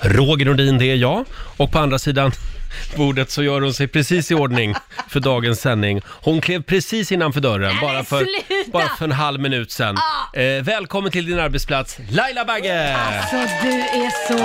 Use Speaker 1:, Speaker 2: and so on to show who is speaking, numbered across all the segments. Speaker 1: Roger Nordin, det är jag. Och på andra sidan bordet så gör hon sig precis i ordning för dagens sändning. Hon klev precis innanför dörren, bara för,
Speaker 2: sluta! Ah.
Speaker 1: bara för en halv minut sedan. Eh, välkommen till din arbetsplats, Laila Bagge!
Speaker 2: Alltså du är så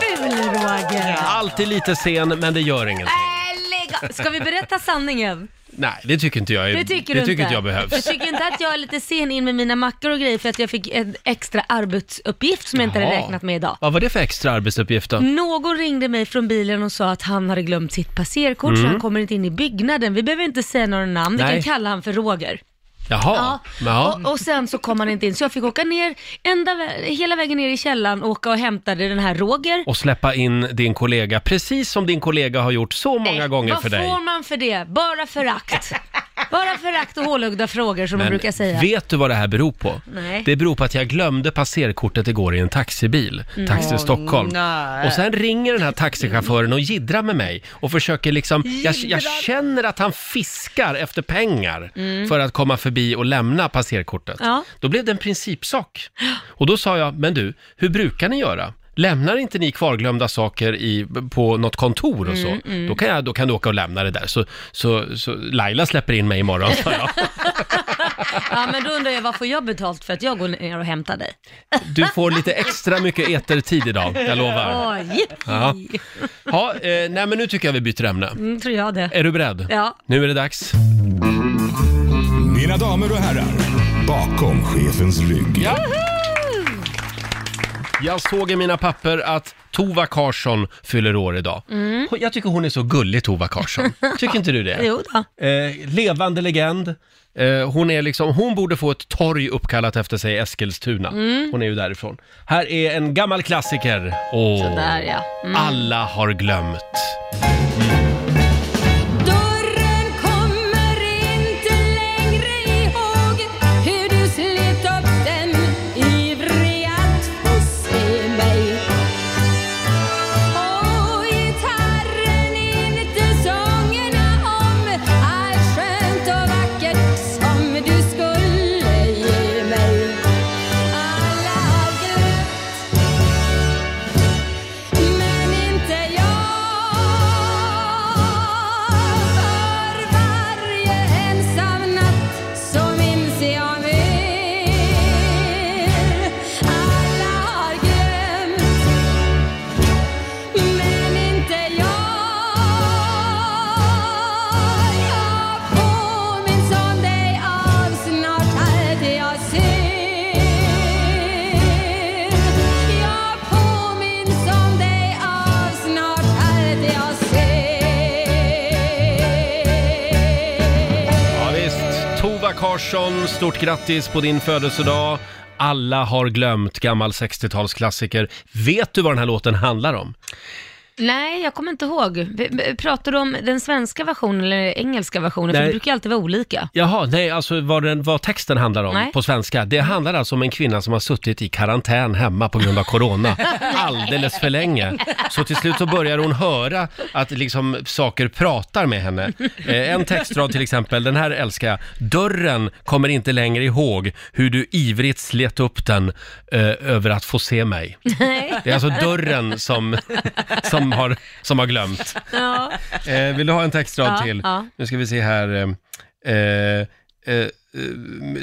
Speaker 2: ful Roger!
Speaker 1: Alltid lite sen, men det gör ingenting.
Speaker 2: Nej, lägg av. Ska vi berätta sanningen?
Speaker 1: Nej, det tycker inte jag är-
Speaker 2: Det tycker
Speaker 1: det
Speaker 2: du
Speaker 1: tycker
Speaker 2: inte.
Speaker 1: inte jag behövs.
Speaker 2: Du tycker inte att jag är lite sen in med mina mackor och grejer för att jag fick en extra arbetsuppgift som jag inte hade
Speaker 1: Jaha.
Speaker 2: räknat med idag. Mm.
Speaker 1: Vad var det för extra arbetsuppgift då?
Speaker 2: Någon ringde mig från bilen och sa att han hade glömt sitt passerkort så
Speaker 1: Mm.
Speaker 2: han kommer inte in i byggnaden. Vi behöver inte säga några namn, vi
Speaker 1: Nej.
Speaker 2: kan kalla han för Roger.
Speaker 1: Jaha. Ja.
Speaker 2: Och, och sen så kom han inte in så jag fick åka ner ända, vä- hela vägen ner i källaren och åka och hämtade den här Roger.
Speaker 1: Och släppa in din kollega, precis som din kollega har gjort så många gånger
Speaker 2: Vad
Speaker 1: för dig.
Speaker 2: får man för det? Bara förakt. Bara förakt och hålögda frågor som man brukar säga.
Speaker 1: vet du vad det här beror på?
Speaker 2: Nej.
Speaker 1: Det beror på att jag glömde passerkortet igår i en taxibil,
Speaker 2: Mm.
Speaker 1: Taxi
Speaker 2: Åh,
Speaker 1: Stockholm.
Speaker 2: nej.
Speaker 1: Och sen ringer den här taxichauffören och jiddrar med mig och försöker liksom, jag, jag
Speaker 2: Jiddrar?
Speaker 1: känner att han fiskar efter pengar
Speaker 2: Mm.
Speaker 1: för att komma förbi och lämna passerkortet.
Speaker 2: Ja.
Speaker 1: Då blev det en principsak. Och då sa jag, men du, hur brukar ni göra? Lämnar inte ni kvarglömda saker i, på något kontor och så,
Speaker 2: Mm, mm.
Speaker 1: Då, kan jag, då kan du åka och lämna det där. Så, så, så Laila släpper in mig imorgon, sa jag.
Speaker 2: Ja, men då undrar jag, vad får jag betalt för att jag går ner och hämtar dig?
Speaker 1: Du får lite extra mycket etertid idag, jag lovar.
Speaker 2: Oj,
Speaker 1: Ja, ja eh, nej men nu tycker jag vi byter ämne.
Speaker 2: mm, tror jag det.
Speaker 1: Är du beredd?
Speaker 2: Ja.
Speaker 1: Nu är det dags.
Speaker 3: Mina damer och herrar, bakom chefens rygg.
Speaker 1: Jag såg i mina papper att Tova Karsson fyller år idag.
Speaker 2: Mm.
Speaker 1: Jag tycker hon är så gullig, Tova Karsson. Tycker inte du det?
Speaker 2: Jo då.
Speaker 1: Eh, levande legend. Eh, hon, är liksom, hon borde få ett torg uppkallat efter sig i Eskilstuna.
Speaker 2: Mm.
Speaker 1: Hon är ju därifrån. Här är en gammal klassiker. Åh,
Speaker 2: Sådär ja. Mm.
Speaker 1: Alla har glömt.
Speaker 4: Dörren kommer inte längre ihåg hur du slet upp den ivrig att få se mig. Och gitarren inte sångerna om allt skönt och vackert som du skulle ge mig. Alla har glömt, men inte jag. För varje ensam natt så minns jag mer. Alla har glömt, men inte jag. Jag påminns om dig av snart allt jag ser. Jag påminns om dig av snart allt jag ser.
Speaker 1: Ja, visst. Tova Karsson, stort grattis på din födelsedag. Alla har glömt, gammal 60-talsklassiker. Vet du vad den här låten handlar om?
Speaker 2: Nej, jag kommer inte ihåg. B- b- Pratar du om den svenska versionen eller engelska versionen? För
Speaker 1: Nej.
Speaker 2: det brukar alltid vara olika.
Speaker 1: Jaha, nej, alltså vad, den, vad texten handlar om
Speaker 2: Nej.
Speaker 1: på svenska. Det handlar alltså om en kvinna som har suttit i karantän hemma på grund av corona alldeles för länge. Så till slut så börjar hon höra att liksom saker pratar med henne. Eh, en textrad till exempel, den här älskar jag. Dörren kommer inte längre ihåg hur du ivrigt slet upp den eh, över att få se mig.
Speaker 2: Nej.
Speaker 1: Det är alltså dörren som, som, har, som har glömt.
Speaker 2: Ja.
Speaker 1: Eh, vill du ha en textrad
Speaker 2: Ja,
Speaker 1: till?
Speaker 2: ja.
Speaker 1: Nu ska vi se här. Eh, eh, eh,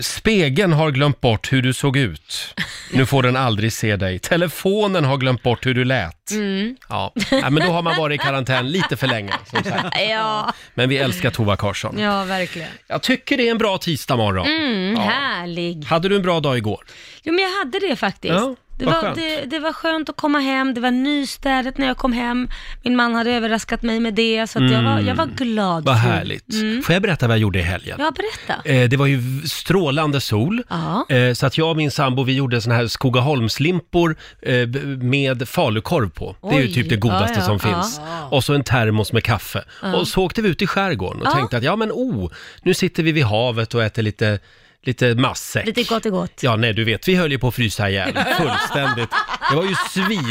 Speaker 1: spegeln har glömt bort hur du såg ut. Nu får den aldrig se dig. Telefonen har glömt bort hur du lät.
Speaker 2: Mm.
Speaker 1: Ja, Nej, men då har man varit i karantän lite för länge. Som sagt.
Speaker 2: Ja.
Speaker 1: Men vi älskar Tova Karsson.
Speaker 2: ja, verkligen.
Speaker 1: Jag tycker det är en bra tisdag morgon.
Speaker 2: Mm,
Speaker 1: Ja.
Speaker 2: Härlig.
Speaker 1: Hade du en bra dag igår?
Speaker 2: Jo, men jag hade det faktiskt.
Speaker 1: Ja,
Speaker 2: det,
Speaker 1: vad
Speaker 2: var,
Speaker 1: skönt.
Speaker 2: det, det var skönt att komma hem, det var nystädat när jag kom hem. Min man hade överraskat mig med det, så att jag, var, jag var glad.
Speaker 1: Mm. Vad
Speaker 2: för-
Speaker 1: härligt.
Speaker 2: Mm.
Speaker 1: Får jag berätta vad jag gjorde i helgen?
Speaker 2: Ja, berätta.
Speaker 1: Eh, Det var ju v- strålande sol,
Speaker 2: Ja.
Speaker 1: eh, så att jag och min sambo vi gjorde såna här Skogaholmslimpor eh, b- med falukorv på. Det är ju
Speaker 2: Oj.
Speaker 1: typ det godaste
Speaker 2: Ja, ja,
Speaker 1: som
Speaker 2: ja.
Speaker 1: finns. Och så en termos med kaffe.
Speaker 2: Ja.
Speaker 1: Och så åkte vi ut i skärgården och
Speaker 2: Ja.
Speaker 1: tänkte att ja men oh, nu sitter vi vid havet och äter lite, lite matsäck.
Speaker 2: Lite gott och gott.
Speaker 1: Ja, nej du vet, vi höll ju på att frysa ihjäl fullständigt. Det var ju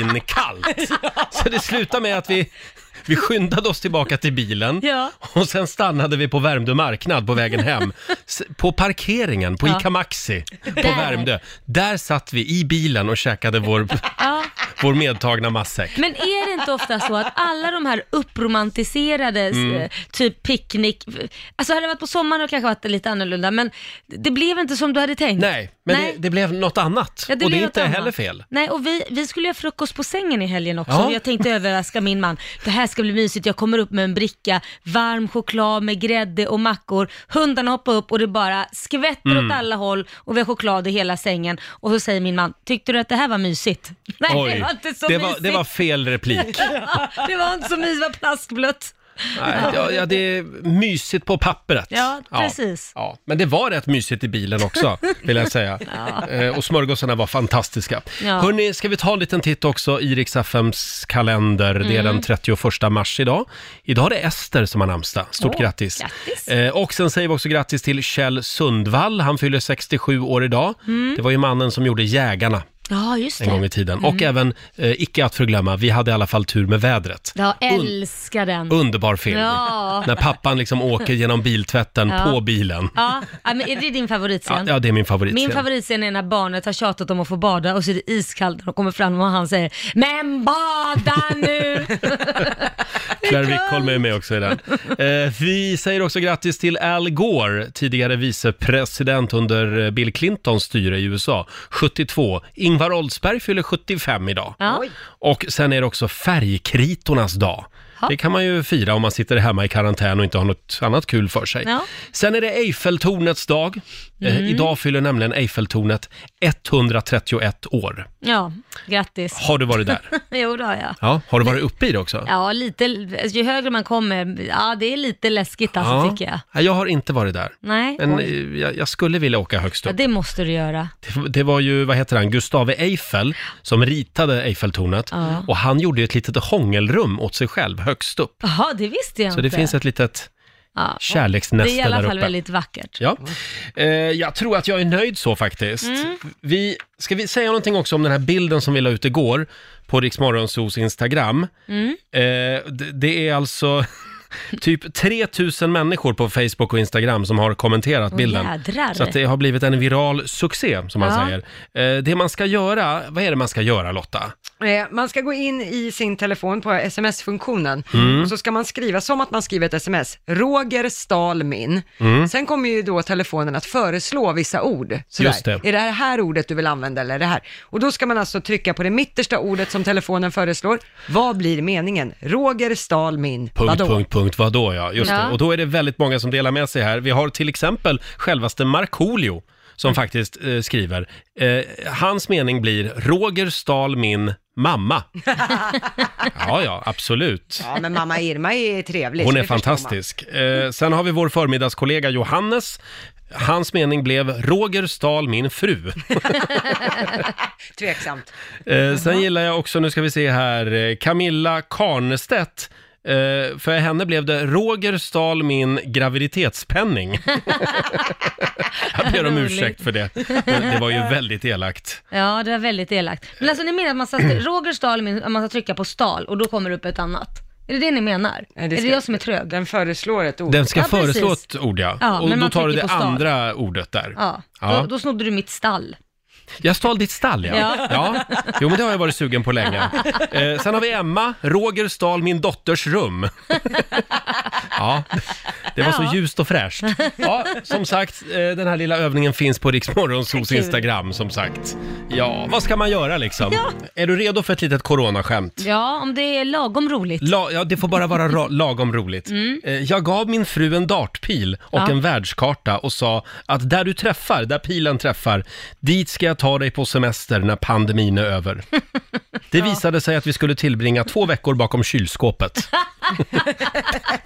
Speaker 1: svinkallt. Så det slutade med att vi, vi skyndade oss tillbaka till bilen
Speaker 2: Ja.
Speaker 1: och sen stannade vi på Värmdö marknad på vägen hem. S- På parkeringen på
Speaker 2: Ja.
Speaker 1: ICA Maxi på
Speaker 2: Där.
Speaker 1: Värmdö. Där satt vi i bilen och käkade vår,
Speaker 2: Ja.
Speaker 1: vår medtagna matsäck.
Speaker 2: Men är det inte ofta så att alla de här uppromantiserade,
Speaker 1: Mm.
Speaker 2: eh, typ picknick, alltså hade det varit på sommaren och kanske varit lite annorlunda, men det blev inte som du hade tänkt.
Speaker 1: Nej, men
Speaker 2: Nej.
Speaker 1: Det, det blev något annat.
Speaker 2: Ja,
Speaker 1: och det
Speaker 2: blev
Speaker 1: är
Speaker 2: något
Speaker 1: inte
Speaker 2: annat.
Speaker 1: heller fel.
Speaker 2: Nej, och vi, vi skulle göra frukost på sängen i helgen också.
Speaker 1: Ja.
Speaker 2: Och Jag tänkte överraska min man. Det här ska bli mysigt. Jag kommer upp med en bricka varm choklad med grädde och mackor. Hundarna hoppar upp och det bara skvätter
Speaker 1: Mm.
Speaker 2: åt alla håll och vi har choklad i hela sängen. Och så säger min man, tyckte du att det här var mysigt? Nej, det var inte så
Speaker 1: det,
Speaker 2: mysigt.
Speaker 1: var, det var fel replik.
Speaker 2: Ja, det var inte så mysigt, det var plaskblött.
Speaker 1: Nej, ja, ja, det är mysigt på pappret.
Speaker 2: Ja, precis.
Speaker 1: Ja, men det var rätt mysigt i bilen också, vill jag säga. Eh, och smörgåsarna var fantastiska.
Speaker 2: Ja.
Speaker 1: Hörni, ska vi ta en liten titt också i Rix FMs kalender? Det
Speaker 2: Mm.
Speaker 1: är den 31 mars idag. Idag är det Ester som har namnsdag. Stort
Speaker 2: Åh,
Speaker 1: grattis!
Speaker 2: grattis.
Speaker 1: Eh, och sen säger vi också grattis till Kjell Sundvall. Han fyller 67 år idag.
Speaker 2: Mm.
Speaker 1: Det var ju mannen som gjorde Jägarna
Speaker 2: Ja, just
Speaker 1: en gång i
Speaker 2: det.
Speaker 1: tiden. Och även, eh, icke att förglömma, vi hade i alla fall tur med vädret.
Speaker 2: Jag älskar den.
Speaker 1: Underbar film.
Speaker 2: Ja.
Speaker 1: När pappan liksom åker genom biltvätten
Speaker 2: Ja.
Speaker 1: på bilen.
Speaker 2: Ja, ja, men är det din favoritscen?
Speaker 1: Ja, ja, det är min favoritscen.
Speaker 2: Min favoritscen är när barnet har tjatat om att få bada och så är det iskallt när de kommer fram och han säger “Men bada nu!”
Speaker 1: Claire Wickholm är med också i den. Eh, vi säger också grattis till Al Gore, tidigare vicepresident under eh, Bill Clintons styre i USA, 72. Ingvar Oldsberg fyller 75 idag.
Speaker 2: Ja.
Speaker 1: Och sen är det också färgkritornas dag. Det kan man ju fira om man sitter hemma i karantän och inte har något annat kul för sig.
Speaker 2: Ja. Mm.
Speaker 1: Sen är det Eiffeltornets dag. Eh, idag fyller nämligen Eiffeltornet 131 år.
Speaker 2: ja, grattis.
Speaker 1: Har du varit där?
Speaker 2: Jo, det har jag.
Speaker 1: Ja, har du varit uppe i det också?
Speaker 2: Ja, lite, ju högre man kommer, ja det är lite läskigt alltså tycker jag.
Speaker 1: Nej, Jag har inte varit där.
Speaker 2: Nej,
Speaker 1: Men
Speaker 2: Oj.
Speaker 1: eh, jag, jag skulle vilja åka högst
Speaker 2: ja,
Speaker 1: upp.
Speaker 2: det måste du göra.
Speaker 1: Det, det var ju, vad heter han, Gustave Eiffel som ritade Eiffeltornet.
Speaker 2: Ja.
Speaker 1: Och han gjorde ju ett litet hångelrum åt sig själv högst upp.
Speaker 2: Jaha, det visste jag
Speaker 1: Så
Speaker 2: inte.
Speaker 1: det finns ett litet
Speaker 2: ja. Det är i
Speaker 1: kärleksnäste
Speaker 2: alla
Speaker 1: där
Speaker 2: fall
Speaker 1: uppe.
Speaker 2: väldigt vackert.
Speaker 1: Ja. Eh,
Speaker 2: Mm.
Speaker 1: jag tror att jag är nöjd så faktiskt. Vi, ska vi säga någonting också om den här bilden som vi la ut igår på Riksmorgonsos Instagram?
Speaker 2: Mm.
Speaker 1: Eh, det, det är alltså typ 3000 människor på Facebook och Instagram som har kommenterat bilden.
Speaker 2: jädrar.
Speaker 1: Så att det har blivit en viral succé, som man
Speaker 2: Ja.
Speaker 1: säger. Eh, det man ska göra, vad är det man ska göra Lotta?
Speaker 5: Eh, Man ska gå in i sin telefon på sms-funktionen
Speaker 1: Mm.
Speaker 5: och så ska man skriva som att man skriver ett sms. Roger stal min.
Speaker 1: Mm.
Speaker 5: Sen kommer ju då telefonen att föreslå vissa ord. Sådär.
Speaker 1: Just det.
Speaker 5: Är det här, här ordet du vill använda eller är det här? Och då ska man alltså trycka på det mittersta ordet som telefonen föreslår. Vad blir meningen? Roger stal min.
Speaker 1: Punkt,
Speaker 5: Vadå?
Speaker 1: punkt, punkt, vadå ja. Just det.
Speaker 2: Ja.
Speaker 1: Och då är det väldigt många som delar med sig här. Vi har till exempel självaste Markoolio
Speaker 5: Mm.
Speaker 1: som faktiskt eh, skriver. Eh, hans mening blir “Roger stal min mamma”. ja, ja, absolut.
Speaker 5: Ja, men mamma Irma är trevlig.
Speaker 1: Hon
Speaker 5: så
Speaker 1: är
Speaker 5: det förstår man.
Speaker 1: fantastisk. Eh, sen har vi vår förmiddagskollega Johannes. Hans mening blev “Roger stal min fru”.
Speaker 5: Tveksamt.
Speaker 1: Eh, sen gillar jag också, nu ska vi se här, eh, Camilla Karnestedt. Eh, för henne blev det Roger stal min graviditetspenning. jag ber om
Speaker 2: Roligt.
Speaker 1: ursäkt för det. Det det var ju väldigt elakt.
Speaker 2: Ja, det var väldigt elakt. Men alltså ni menar att man ska,
Speaker 1: Mm.
Speaker 2: Roger stal min, att man ska trycka på stal och då kommer det upp ett annat? Är det det ni menar?
Speaker 5: Nej,
Speaker 2: Är
Speaker 5: ska-
Speaker 2: det jag som är trög?
Speaker 5: Den föreslår ett ord.
Speaker 1: Den ska
Speaker 2: Ja, precis.
Speaker 1: föreslå ett ord ja.
Speaker 2: Ja,
Speaker 1: och
Speaker 2: men
Speaker 1: då
Speaker 2: man
Speaker 1: tar du
Speaker 2: trycker
Speaker 1: det
Speaker 2: på stal.
Speaker 1: andra ordet där.
Speaker 2: Ja,
Speaker 1: Ja.
Speaker 2: Då, då snodde du mitt stall.
Speaker 1: Jag stal ditt stall ja. ja.
Speaker 2: Ja.
Speaker 1: Jo men det har jag varit sugen på länge. Eh, sen har vi Emma, Roger stal min dotters rum. ja, det var
Speaker 2: Ja.
Speaker 1: så ljust och fräscht. Ja, som sagt, eh, den här lilla övningen finns på Riksmorgonsos
Speaker 2: Kul.
Speaker 1: Instagram som sagt. Ja, vad ska man göra liksom? Är du redo för ett litet coronaskämt?
Speaker 2: Ja, om det är lagom roligt.
Speaker 1: La, ja, det får bara vara ra- lagom roligt. Eh, Jag gav min fru en dartpil och en världskarta och sa att där du träffar, där pilen träffar, dit ska jag ta dig på semester när pandemin är över. Det visade sig att vi skulle tillbringa två veckor bakom kylskåpet. Äh,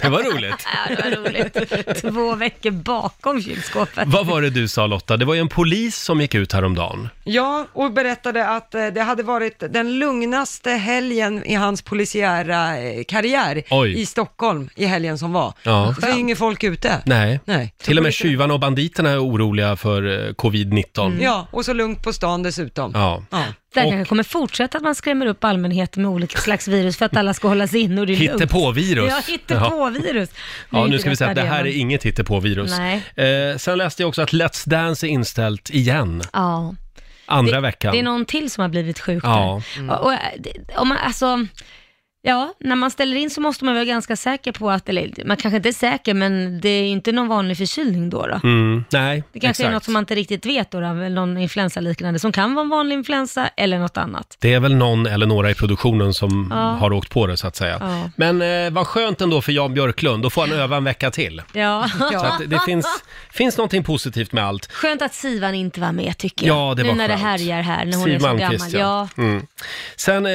Speaker 1: det var roligt.
Speaker 2: Ja, det var roligt. Två veckor bakom kylskåpet.
Speaker 1: Vad var det du sa Lotta? Det var ju en polis som gick ut häromdagen.
Speaker 5: Ja, och berättade att eh, det hade varit den lugnaste helgen i hans polisiära eh, karriär
Speaker 1: Oj.
Speaker 5: i Stockholm i helgen som var.
Speaker 1: Ja.
Speaker 5: Det är inget folk ute.
Speaker 1: Nej.
Speaker 5: Nej.
Speaker 1: Till och med tjuvarna och banditerna är oroliga för eh, covid-19.
Speaker 5: Mm. Ja, och så lugnt på stan dessutom.
Speaker 1: Ja.
Speaker 5: Ja.
Speaker 2: Det här
Speaker 1: Och-
Speaker 2: kanske kommer fortsätta att man skrämmer upp allmänheten med olika slags virus för att alla ska hållas inne och det är lugnt.
Speaker 1: Hittepåvirus.
Speaker 2: Ja, hittepåvirus.
Speaker 1: Ja,
Speaker 2: är
Speaker 1: nu
Speaker 2: inte
Speaker 1: ska vi säga att det
Speaker 2: detta
Speaker 1: här
Speaker 2: man-
Speaker 1: är inget hittepåvirus.
Speaker 2: Nej.
Speaker 1: Eh, sen läste jag också att Let's Dance är inställt igen.
Speaker 2: Ja.
Speaker 1: Andra
Speaker 2: det,
Speaker 1: veckan.
Speaker 2: Det är någon till som har blivit sjuk
Speaker 1: Ja.
Speaker 2: där. Och, och, äh, det- om man, alltså, ja, när man ställer in så måste man vara ganska säker på att, eller man kanske inte är säker, men det är ju inte någon vanlig förkylning då. då.
Speaker 1: Mm, nej,
Speaker 2: Det kanske är något som man inte riktigt vet då, då, väl någon influensaliknande som kan vara en vanlig influensa eller något annat.
Speaker 1: Det är väl någon eller några i produktionen som
Speaker 2: Ja.
Speaker 1: har åkt på det så att säga.
Speaker 2: Ja.
Speaker 1: Men eh, vad skönt ändå för Jan Björklund, då får han öva en vecka till.
Speaker 2: Ja.
Speaker 1: Så att det finns, finns någonting positivt med allt.
Speaker 2: Skönt att Sivan inte var med tycker jag.
Speaker 1: Ja, det
Speaker 2: nu
Speaker 1: var
Speaker 2: när det
Speaker 1: skönt.
Speaker 2: härjar här, när hon
Speaker 1: Siw
Speaker 2: är så
Speaker 1: Malmkvist,
Speaker 2: gammal. Ja.
Speaker 1: Mm. Sen eh,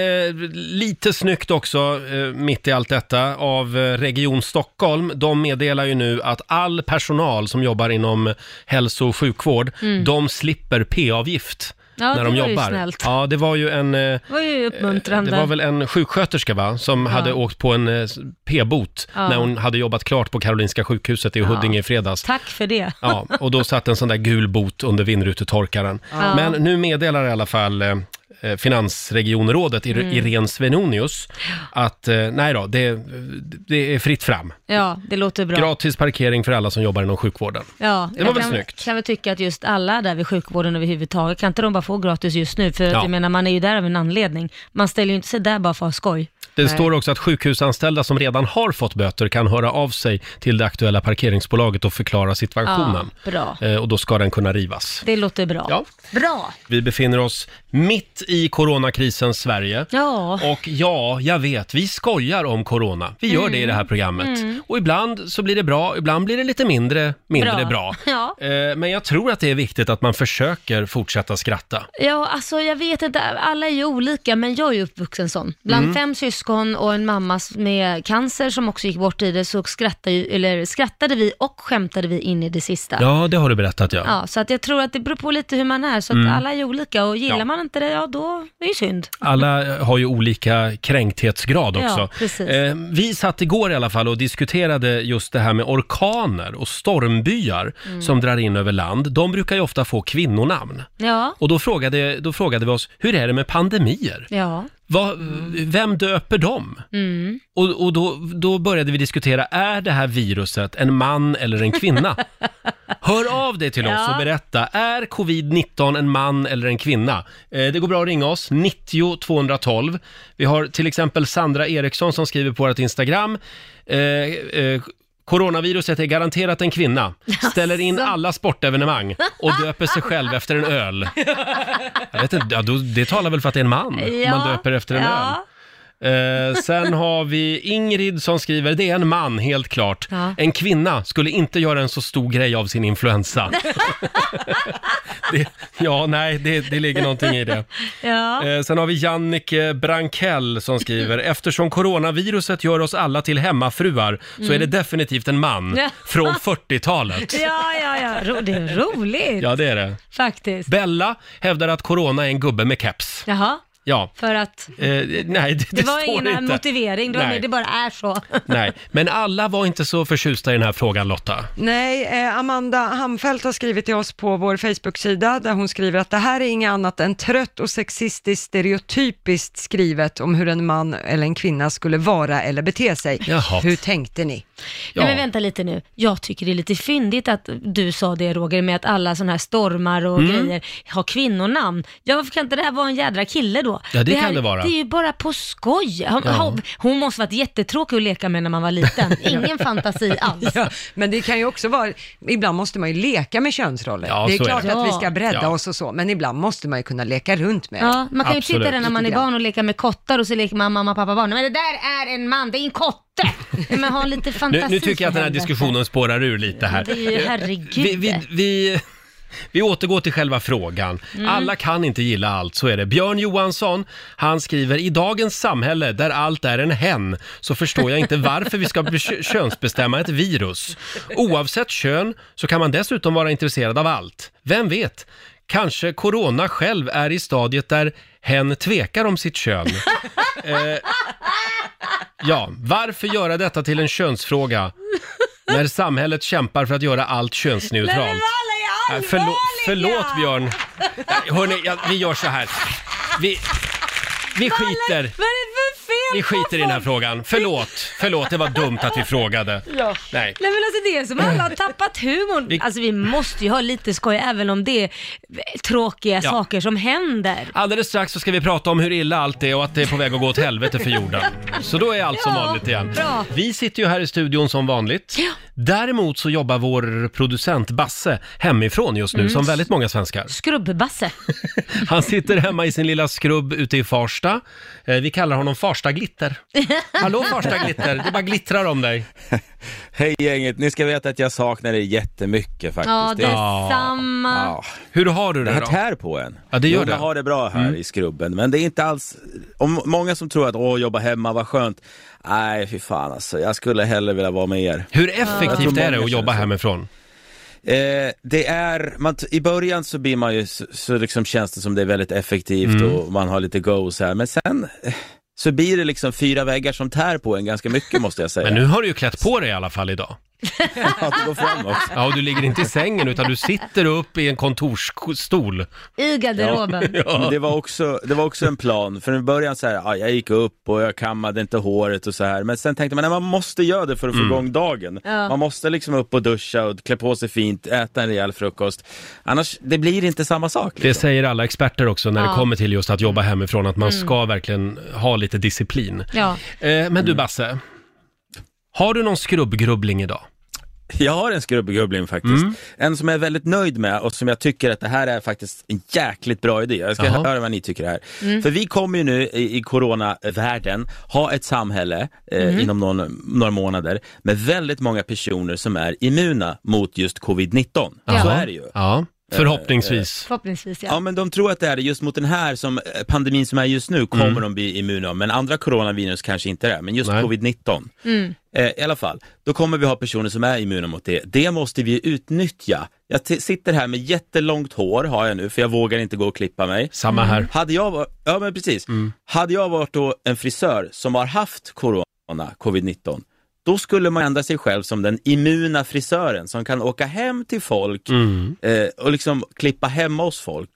Speaker 1: lite snyggt också, eh, mitt i allt detta, av eh, Region Stockholm. De meddelar ju nu att all personal som jobbar inom hälso och sjukvård, de slipper p-avgift.
Speaker 2: Mm. Ja,
Speaker 1: när
Speaker 2: det
Speaker 1: de
Speaker 2: var ju
Speaker 1: jobbar.
Speaker 2: snällt.
Speaker 1: Ja, det var ju en... eh,
Speaker 2: Det var ju uppmuntrande.
Speaker 1: Det var väl en sjuksköterska va, som hade åkt på en eh, p-bot
Speaker 2: Ja.
Speaker 1: när hon hade jobbat klart på Karolinska sjukhuset i Huddinge i fredags.
Speaker 2: Tack för det.
Speaker 1: Ja, och då satt en sån där gul bot under vindrutetorkaren. Men nu meddelar i alla fall eh, eh, finansregionrådet
Speaker 2: Mm.
Speaker 1: Ir- Irene Svenonius att eh, nej då, det, det är fritt fram.
Speaker 2: Ja, det låter bra.
Speaker 1: Gratis parkering för alla som jobbar inom sjukvården.
Speaker 2: Ja,
Speaker 1: Det var
Speaker 2: jag
Speaker 1: väl
Speaker 2: kan,
Speaker 1: snyggt.
Speaker 2: kan väl tycka att just alla där vid sjukvården överhuvudtaget, kan inte de bara få gratis just nu? För
Speaker 1: Ja.
Speaker 2: jag menar, man är ju där av en anledning. Man ställer ju inte sig där bara för att ha skoj.
Speaker 1: Det står också att sjukhusanställda som redan har fått böter kan höra av sig till det aktuella parkeringsbolaget och förklara situationen.
Speaker 2: Ja, bra.
Speaker 1: Eh, Och då ska den kunna rivas.
Speaker 2: Det låter bra.
Speaker 1: Ja.
Speaker 2: Bra!
Speaker 1: Vi befinner oss mitt i coronakrisens Sverige.
Speaker 2: Ja.
Speaker 1: Och ja, jag vet, vi skojar om corona. Vi gör det i det
Speaker 2: Mm.
Speaker 1: här programmet. Och ibland så blir det bra, ibland blir det lite mindre, mindre bra.
Speaker 2: Bra. Ja.
Speaker 1: Eh, Men jag tror att det är viktigt att man försöker fortsätta skratta.
Speaker 2: Ja, alltså jag vet inte, alla är ju olika, men jag är ju uppvuxen sån. Bland
Speaker 1: Mm.
Speaker 2: fem syskon och en mamma s- med cancer som också gick bort i det, så skrattade, ju, eller skrattade vi och skämtade vi in i det sista.
Speaker 1: Ja, det har du berättat ja.
Speaker 2: Ja, så att jag tror att det beror på lite hur man är, så att alla är olika och gillar
Speaker 1: Mm. Ja.
Speaker 2: man inte det, ja då det är ju synd.
Speaker 1: Alla eh, har ju olika kränkthetsgrad
Speaker 2: Ja,
Speaker 1: också.
Speaker 2: precis.
Speaker 1: Eh, vi satt igår i alla fall och diskuterade just det här med orkaner och stormbyar
Speaker 2: Mm.
Speaker 1: som drar in över land. De brukar ju ofta få kvinnonamn.
Speaker 2: Ja,
Speaker 1: Och då frågade, då frågade vi oss, hur är det med pandemier?
Speaker 2: ja,
Speaker 1: Vad- Vem döper dem? Och, och då, då började vi diskutera, är det här viruset en man eller en kvinna? Hör av dig till oss
Speaker 2: Ja.
Speaker 1: och berätta, är covid-19 en man eller en kvinna? Eh, det går bra att ringa oss, 90 212. Vi har till exempel Sandra Eriksson som skriver på vårt Instagram, eh, eh, Coronaviruset är garanterat en kvinna, ställer in alla sportevenemang och döper sig själv efter en öl. Jag vet inte, ja, då, det talar väl för att det är en man
Speaker 2: ja.
Speaker 1: om man döper efter en öl.
Speaker 2: ja.
Speaker 1: Eh, sen har vi Ingrid som skriver, det är en man helt klart.
Speaker 2: Ja.
Speaker 1: En kvinna skulle inte göra en så stor grej av sin influensa. det, ja, nej, det, det ligger någonting i det.
Speaker 2: Ja.
Speaker 1: Eh, sen har vi Jannike Brankell som skriver, eftersom coronaviruset gör oss alla till hemmafruar så är det definitivt en man
Speaker 2: Mm. Ja.
Speaker 1: från 40-talet.
Speaker 2: Ja, ja, ja. Ro- Det är roligt
Speaker 1: Ja, det är det.
Speaker 2: faktiskt.
Speaker 1: Bella hävdar att corona är en gubbe med keps.
Speaker 2: Jaha,
Speaker 1: Ja.
Speaker 2: för att
Speaker 1: Eh, nej, det, det,
Speaker 2: det var
Speaker 1: står
Speaker 2: ingen
Speaker 1: inte.
Speaker 2: motivering, det, var
Speaker 1: Nej.
Speaker 2: mer, det bara är så.
Speaker 1: Nej, men alla var inte så förtjusta i den här frågan Lotta.
Speaker 5: Nej, eh, Amanda Hamfelt har skrivit till oss på vår Facebook-sida där hon skriver att det här är inget annat än trött och sexistiskt stereotypiskt skrivet om hur en man eller en kvinna skulle vara eller bete sig.
Speaker 1: Jaha.
Speaker 5: Hur tänkte ni?
Speaker 1: Ja.
Speaker 2: Nej men vänta lite nu. Jag tycker det är lite fyndigt att du sa det Roger, med att alla sådana här stormar och
Speaker 1: Mm.
Speaker 2: grejer har kvinnonamn. Ja varför kan inte det här vara en jädra kille då?
Speaker 1: Ja, det kan
Speaker 2: här,
Speaker 1: det vara.
Speaker 2: Det är ju bara på skoj. Hon, hon- hon måste varit jättetråkig att leka med när man var liten. Ingen fantasi alls.
Speaker 5: Ja, men det kan ju också vara, ibland måste man ju leka med könsroller.
Speaker 1: Ja,
Speaker 5: det är
Speaker 1: så är
Speaker 5: klart
Speaker 2: det.
Speaker 5: att vi ska bredda
Speaker 1: Ja.
Speaker 5: oss och så, men ibland måste man ju kunna leka runt med det.
Speaker 2: Ja, man kan ju
Speaker 1: Absolut.
Speaker 2: titta där när man är
Speaker 5: Lite grann.
Speaker 2: barn och leka med kottar och så leker man mamma, pappa, barn. Men det där är en man, det är en kotte! Men ha lite fantasi
Speaker 1: Nu, nu tycker jag att den här
Speaker 2: för helvete.
Speaker 1: diskussionen spårar ur lite här.
Speaker 2: Det är ju herregud.
Speaker 1: Vi, vi, vi, vi återgår till själva frågan.
Speaker 2: Mm.
Speaker 1: Alla kan inte gilla allt, så är det. Björn Johansson, han skriver i dagens samhälle där allt är en hen så förstår jag inte varför vi ska be- könsbestämma ett virus. Oavsett kön så kan man dessutom vara intresserad av allt. Vem vet? Kanske corona själv är i stadiet där hen tvekar om sitt kön. Eh, ja, varför göra detta till en könsfråga när samhället kämpar för att göra allt könsneutralt? Nej, förlåt, förlåt Björn. Äh, Nej, Hörni, jag, vi gör så här. Vi, vi skiter.
Speaker 2: Vad är det för fel
Speaker 1: vi skiter i den här frågan. Förlåt, förlåt, det var dumt att vi frågade. Nej.
Speaker 2: Nej men alltså det är som alla har tappat humorn.
Speaker 1: Vi-
Speaker 2: Alltså vi måste ju ha lite skoj även om det är tråkiga
Speaker 1: Ja.
Speaker 2: saker som händer.
Speaker 1: Alldeles strax så ska vi prata om hur illa allt är och att det är på väg att gå åt helvete för jorden. Så då är allt som
Speaker 2: Ja,
Speaker 1: vanligt igen.
Speaker 2: bra.
Speaker 1: Vi sitter ju här i studion som vanligt. Däremot så jobbar vår producent Basse hemifrån just
Speaker 2: Mm.
Speaker 1: nu, som väldigt många svenskar.
Speaker 2: Skrubbbasse.
Speaker 1: Han sitter hemma i sin lilla skrubb ute i Farsta. Eh, Vi kallar honom Farsta Glitter. Hallå Farsta Glitter, det bara glittrar om dig.
Speaker 6: Hej gänget, ni ska veta att jag saknar er jättemycket faktiskt.
Speaker 2: Ja,
Speaker 6: Det-
Speaker 2: detsamma.
Speaker 6: Ja.
Speaker 1: Hur har du
Speaker 6: Det
Speaker 1: det
Speaker 6: här
Speaker 1: då?
Speaker 6: tär på en.
Speaker 1: Ja, det gör
Speaker 6: Jo,
Speaker 1: det. Mm.
Speaker 6: Jag har det bra här i skrubben, men det är inte alls... Om många som tror att åh, jobba hemma, vad skönt. Nej, fy fan alltså. Jag skulle hellre vilja vara med er.
Speaker 1: Hur
Speaker 6: Jag tror
Speaker 1: effektivt
Speaker 6: många
Speaker 1: är det att
Speaker 6: känner
Speaker 1: jobba
Speaker 6: så.
Speaker 1: hemifrån?
Speaker 6: Eh, det är, man, t- i början så blir man ju, så, så liksom känns det som det är väldigt effektivt
Speaker 1: Mm.
Speaker 6: och man har lite go så här, men sen eh, så blir det liksom fyra väggar som tär på en ganska mycket måste jag säga.
Speaker 1: Men nu har du ju klätt på dig i alla fall idag.
Speaker 6: Att det går framåt.
Speaker 1: Ja, och du ligger inte i sängen utan du sitter upp i en kontorsstol.
Speaker 2: I garderoben.
Speaker 6: Men det, var också, det var också en plan, för i början så här, ja, jag gick upp och jag kammade inte håret och så här. Men sen tänkte man, nej, man måste göra det för att få igång dagen.
Speaker 2: Ja.
Speaker 6: Man måste liksom upp och duscha och klä på sig fint, äta en rejäl frukost. Annars, det blir inte samma sak.
Speaker 1: Det
Speaker 6: Liksom.
Speaker 1: säger alla experter också när det
Speaker 2: Ja. Mm.
Speaker 1: kommer till just att jobba hemifrån, att man ska verkligen ha lite disciplin.
Speaker 2: Ja.
Speaker 1: Eh,
Speaker 2: Mm.
Speaker 1: men du Basse, har du någon skrubbgrubbling idag?
Speaker 6: Jag har en skrubbgubbling faktiskt. En som jag är väldigt nöjd med och som jag tycker att det här är faktiskt en jäkligt bra idé. Jag ska
Speaker 1: Jaha.
Speaker 6: höra vad ni tycker här. För vi kommer ju nu i, i coronavärlden ha ett samhälle eh, inom någon, några månader med väldigt många personer som är immuna mot just covid-19. Så
Speaker 1: Jaha.
Speaker 6: är det ju.
Speaker 1: Ja, Eh, förhoppningsvis.
Speaker 2: Förhoppningsvis ja.
Speaker 6: Ja men de tror att det är det just mot den här som eh, pandemin som är just nu kommer de bli immuna men andra coronavirus kanske inte är det, men just
Speaker 1: Nej.
Speaker 6: covid-19. Eh, I alla fall, då kommer vi ha personer som är immuna mot det. Det måste vi utnyttja. Jag t- sitter här med jättelångt hår har jag nu för jag vågar inte gå och klippa mig.
Speaker 1: Samma här.
Speaker 6: Hade jag, var- ja, men precis. Hade jag varit då en frisör som har haft corona, covid-19, då skulle man ändra sig själv som den immuna frisören som kan åka hem till folk eh, och liksom klippa hemma hos folk.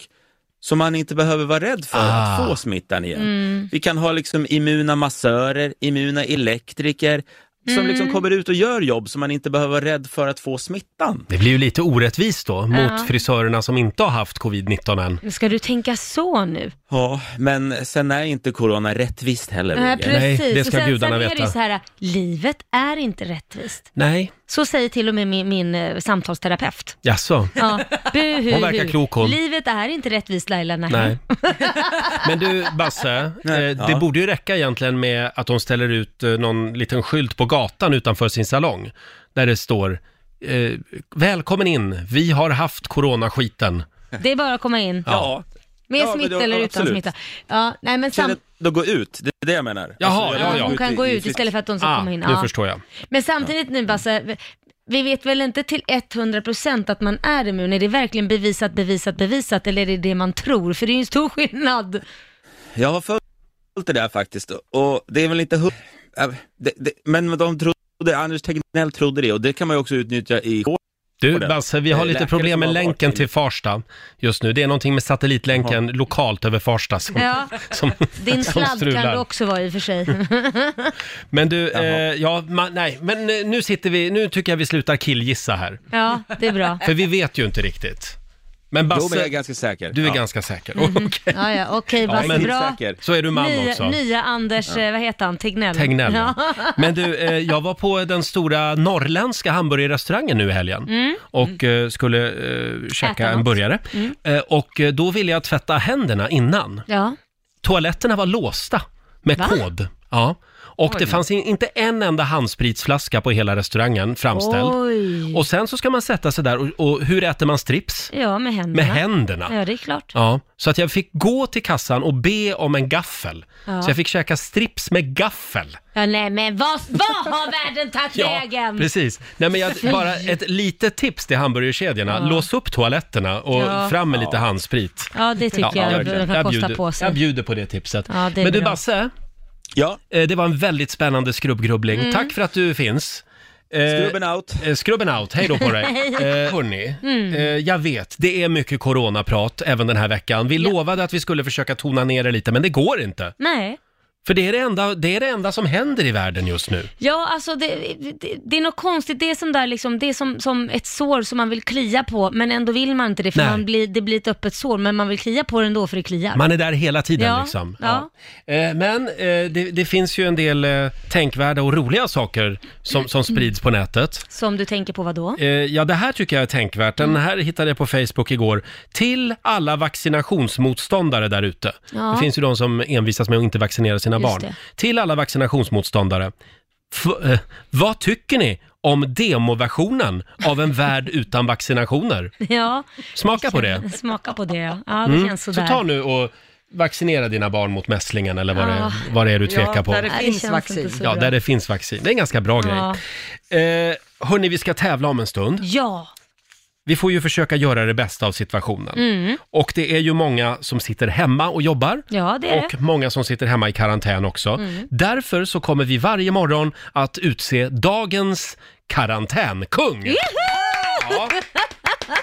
Speaker 6: Så man inte behöver vara rädd för
Speaker 1: Ah.
Speaker 6: att få smittan igen. Vi kan ha liksom immuna massörer, immuna elektriker, som liksom kommer ut och gör jobb så man inte behöver vara rädd för att få smittan.
Speaker 1: Det blir ju lite orättvist då
Speaker 2: Ja.
Speaker 1: mot frisörerna som inte har haft covid-19 än.
Speaker 2: Men Ska du tänka så nu?
Speaker 6: Ja, men sen är inte corona rättvist heller.
Speaker 2: Nej,
Speaker 6: Roger.
Speaker 2: precis.
Speaker 1: det
Speaker 2: Och
Speaker 1: ska
Speaker 2: sen,
Speaker 1: gudarna
Speaker 2: sen är
Speaker 1: veta.
Speaker 2: det ju så här, livet är inte rättvist.
Speaker 1: Nej,
Speaker 2: Så säger till och med min, min eh, samtalsterapeut.
Speaker 1: jaså?
Speaker 2: Ja, buhu,
Speaker 1: Hon verkar klok, hon.
Speaker 2: Livet är inte rättvist Laila, nej.
Speaker 1: Nej. Men du Basse,
Speaker 6: Nej.
Speaker 1: eh, det
Speaker 6: Ja.
Speaker 1: borde ju räcka egentligen med att de ställer ut eh, någon liten skylt på gatan utanför sin salong. Där det står eh, “Välkommen in, vi har haft coronaskiten”.
Speaker 2: Det är bara att komma in.
Speaker 6: Ja.
Speaker 2: Med
Speaker 6: Ja, men
Speaker 2: smitta
Speaker 6: det-
Speaker 2: eller utan
Speaker 6: absolut.
Speaker 2: smitta. Ja, nej men
Speaker 6: Sen
Speaker 2: sam-
Speaker 6: att då gå ut, det är det jag menar. Alltså,
Speaker 1: Jaha,
Speaker 6: jag
Speaker 1: ja,
Speaker 6: vill
Speaker 1: ja.
Speaker 2: hon kan gå
Speaker 6: i- i
Speaker 2: ut
Speaker 6: frisk-
Speaker 2: istället för att de ska
Speaker 1: Ah,
Speaker 2: komma in.
Speaker 1: nu
Speaker 2: Ja.
Speaker 1: förstår jag.
Speaker 2: Men samtidigt nu Basse, vi- vi vet väl inte till 100% att man är immun? Är det verkligen bevisat, bevisat, bevisat eller är det det man tror? För det är ju en stor skillnad.
Speaker 6: Jag har följt det där faktiskt och det är väl inte hu- Äh, det, det, Men de trodde, Anders Tegnell trodde det och det kan man ju också utnyttja i
Speaker 1: Du
Speaker 6: på den.
Speaker 1: Basse, vi har
Speaker 6: Eh,
Speaker 1: lite
Speaker 6: läkare
Speaker 1: problem
Speaker 6: som
Speaker 1: med
Speaker 6: har
Speaker 1: länken
Speaker 6: varit
Speaker 1: till Farsta just nu. Det är någonting med satellitlänken lokalt över Farsta som,
Speaker 2: Ja.
Speaker 1: som,
Speaker 2: Din
Speaker 1: som
Speaker 2: sladd kan det
Speaker 1: strular.
Speaker 2: också vara i och för sig.
Speaker 1: Men du, eh,
Speaker 6: Jaha.
Speaker 1: ja, man, nej, men eh, nu sitter vi, nu tycker jag vi slutar killgissa här.
Speaker 2: Ja, det är bra.
Speaker 1: För vi vet ju inte riktigt. Men
Speaker 6: Jo, men jag
Speaker 1: Basse,
Speaker 6: är ganska säker.
Speaker 1: du är
Speaker 6: Ja.
Speaker 1: ganska säker. Okej,
Speaker 2: Ja, ja, okej
Speaker 6: Ja,
Speaker 2: Basse,
Speaker 6: men-
Speaker 2: bra.
Speaker 6: säker.
Speaker 1: så är du man
Speaker 2: Nya,
Speaker 1: också.
Speaker 2: nya Anders, eh, vad heter han, Tegnell?
Speaker 1: Tegnell. ja.
Speaker 2: Ja.
Speaker 1: Men du, eh, jag var på den stora norrländska hamburgerrestaurangen nu i helgen och eh, skulle eh,
Speaker 2: Mm. Äta
Speaker 1: käka en
Speaker 2: något. Mm.
Speaker 1: burgare. Eh, och eh, då ville jag tvätta händerna innan.
Speaker 2: ja.
Speaker 1: toaletterna var låsta med
Speaker 2: Va?
Speaker 1: kod. Ja. Och det fanns in, inte en enda handspritsflaska på hela restaurangen framställd.
Speaker 2: Oj.
Speaker 1: Och sen så ska man sätta sig där och, och hur äter man strips?
Speaker 2: Ja, med händerna.
Speaker 1: Med händerna.
Speaker 2: Ja, det är klart.
Speaker 1: Ja, så att jag fick gå till kassan och be om en gaffel.
Speaker 2: Ja.
Speaker 1: Så jag fick käka strips med gaffel.
Speaker 2: Ja, nej men vad, vad har världen tagit vägen?
Speaker 1: precis. Nej, men jag, bara ett litet tips till hamburgerkedjorna. Lås upp toaletterna och
Speaker 2: Ja.
Speaker 1: fram med lite handsprit.
Speaker 2: Ja, det tycker jag
Speaker 1: verkligen.
Speaker 2: de kan kosta
Speaker 1: bjuder,
Speaker 2: på
Speaker 1: jag
Speaker 2: sig.
Speaker 1: bjuder på det tipset.
Speaker 2: Ja, det är
Speaker 1: men du
Speaker 2: bra.
Speaker 1: Basse,
Speaker 6: Ja,
Speaker 1: Eh, Det var en väldigt spännande skrubbgrubbling. Tack för att du finns. Eh,
Speaker 6: Skrubben out.
Speaker 1: eh, Skrubben out, hej då på dig. Eh, hörni, eh, jag vet, det är mycket coronaprat även den här veckan. Vi lovade att vi skulle försöka tona ner det lite, men det går inte.
Speaker 2: Nej,
Speaker 1: För det är det, enda, det är det enda som händer i världen just nu.
Speaker 2: Ja, alltså det, det, det är något konstigt. Det är som, där liksom, det är som, som ett sår som man vill klia på, men ändå vill man inte det, för
Speaker 1: Nej.
Speaker 2: man blir, det blir ett öppet sår, men man vill klia på det ändå för det kliar.
Speaker 1: Man är där hela tiden
Speaker 2: Ja,
Speaker 1: liksom.
Speaker 2: ja.
Speaker 1: Eh, Men eh, det, det finns ju en del eh, tänkvärda och roliga saker som, som sprids på nätet.
Speaker 2: Som du tänker på vad då?
Speaker 1: Eh, Ja, det här tycker jag är tänkvärt.
Speaker 2: Mm.
Speaker 1: Den här hittade jag på Facebook igår. Till alla vaccinationsmotståndare där ute.
Speaker 2: Ja.
Speaker 1: Det finns ju de som envisas med att inte vaccinera sina
Speaker 2: Just
Speaker 1: barn.
Speaker 2: det.
Speaker 1: Till alla vaccinationsmotståndare. F- eh, vad tycker ni om demoversionen av en värld utan vaccinationer?
Speaker 2: Ja,
Speaker 1: Smaka på det. Mm.
Speaker 2: smaka på det ja. Ja, det känns
Speaker 1: Så
Speaker 2: sådär.
Speaker 1: ta nu och vaccinera dina barn mot mässlingen eller vad,
Speaker 2: Ja.
Speaker 1: det, vad det är du tvekar
Speaker 5: Ja,
Speaker 1: på.
Speaker 5: där det
Speaker 2: Nej,
Speaker 5: finns
Speaker 2: känns
Speaker 5: vaccin.
Speaker 2: inte så
Speaker 1: Ja,
Speaker 2: bra.
Speaker 1: där det finns vaccin. Det är en ganska bra
Speaker 2: Ja.
Speaker 1: grej. Eh, hörni, vi ska tävla om en stund.
Speaker 2: Ja,
Speaker 1: Vi får ju försöka göra det bästa av situationen. Och det är ju många som sitter hemma och jobbar.
Speaker 2: Mm. ja det är det. Mm.
Speaker 1: Och många som sitter hemma i karantän också. Därför så kommer vi varje morgon att utse dagens karantänkung. Ja.